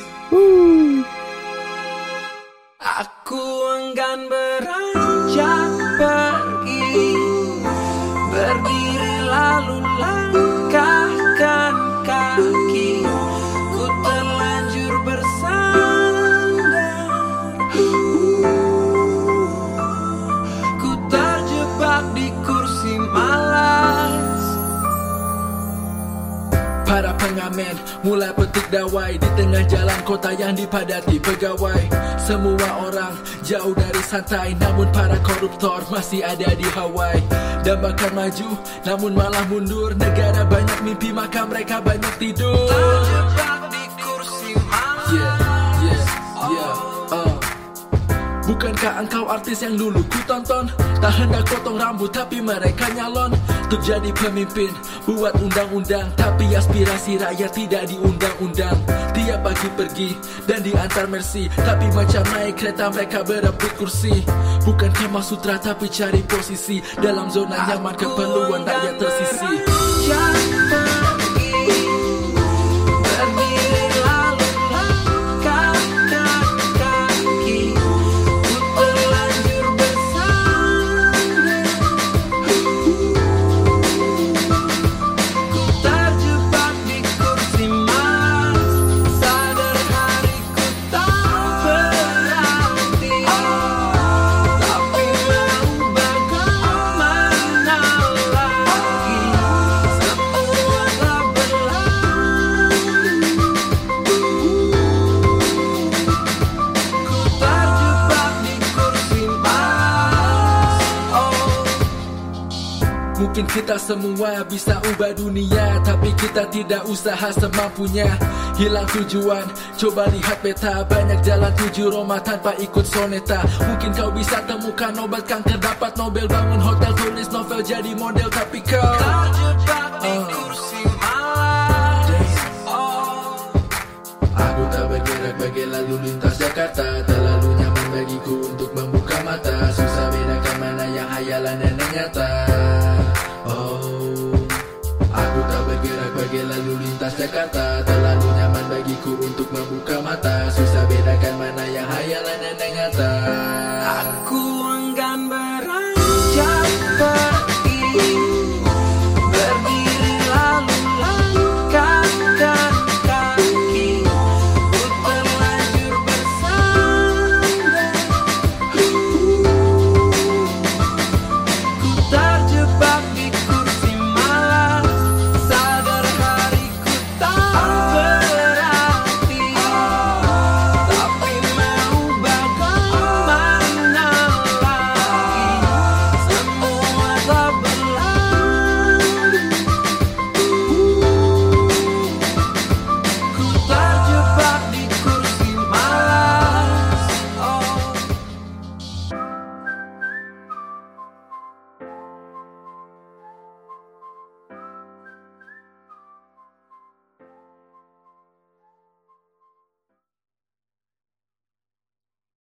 Speaker 6: Aku enggan beranjak pergi
Speaker 8: pengamen Mulai petik dawai di tengah jalan kota yang dipadati pegawai Semua orang jauh dari santai Namun para koruptor masih ada di Hawaii Dan bahkan maju namun malah mundur Negara banyak mimpi maka mereka banyak tidur Yeah, yeah, yeah, uh. Bukankah engkau artis yang dulu ku tonton Tak hendak potong rambut tapi mereka nyalon Untuk jadi pemimpin Buat undang-undang Tapi aspirasi rakyat tidak diundang-undang Tiap pagi pergi dan diantar mercy Tapi macam naik kereta mereka berebut kursi Bukan kama sutra tapi cari posisi Dalam zona nyaman keperluan rakyat tersisi
Speaker 6: Terjebak di kursi mas Sadar hariku tak berarti Tapi mau bagaimana lagi Semua telah berlalu Ku terjebak di kursi mas Oh
Speaker 8: Mungkin kita semua bisa ubah dunia Tapi kita tidak usaha semampunya Hilang tujuan Coba lihat peta Banyak jalan tuju Roma tanpa ikut soneta Mungkin kau bisa temukan obat kanker Dapat Nobel bangun hotel Tulis novel jadi model Tapi kau
Speaker 6: Terjebak di kursi malas
Speaker 8: Aku tak bergerak bagai lalu lintas Jakarta Terlalu nyaman bagiku untuk membuka mata Susah bedakan mana yang hayalan dan yang nyata Oh Aku tak bergerak bagai lalu lintas Jakarta Terlalu nyaman bagiku untuk membuka mata Susah bedakan mana yang hayalan dan yang nyata
Speaker 6: Aku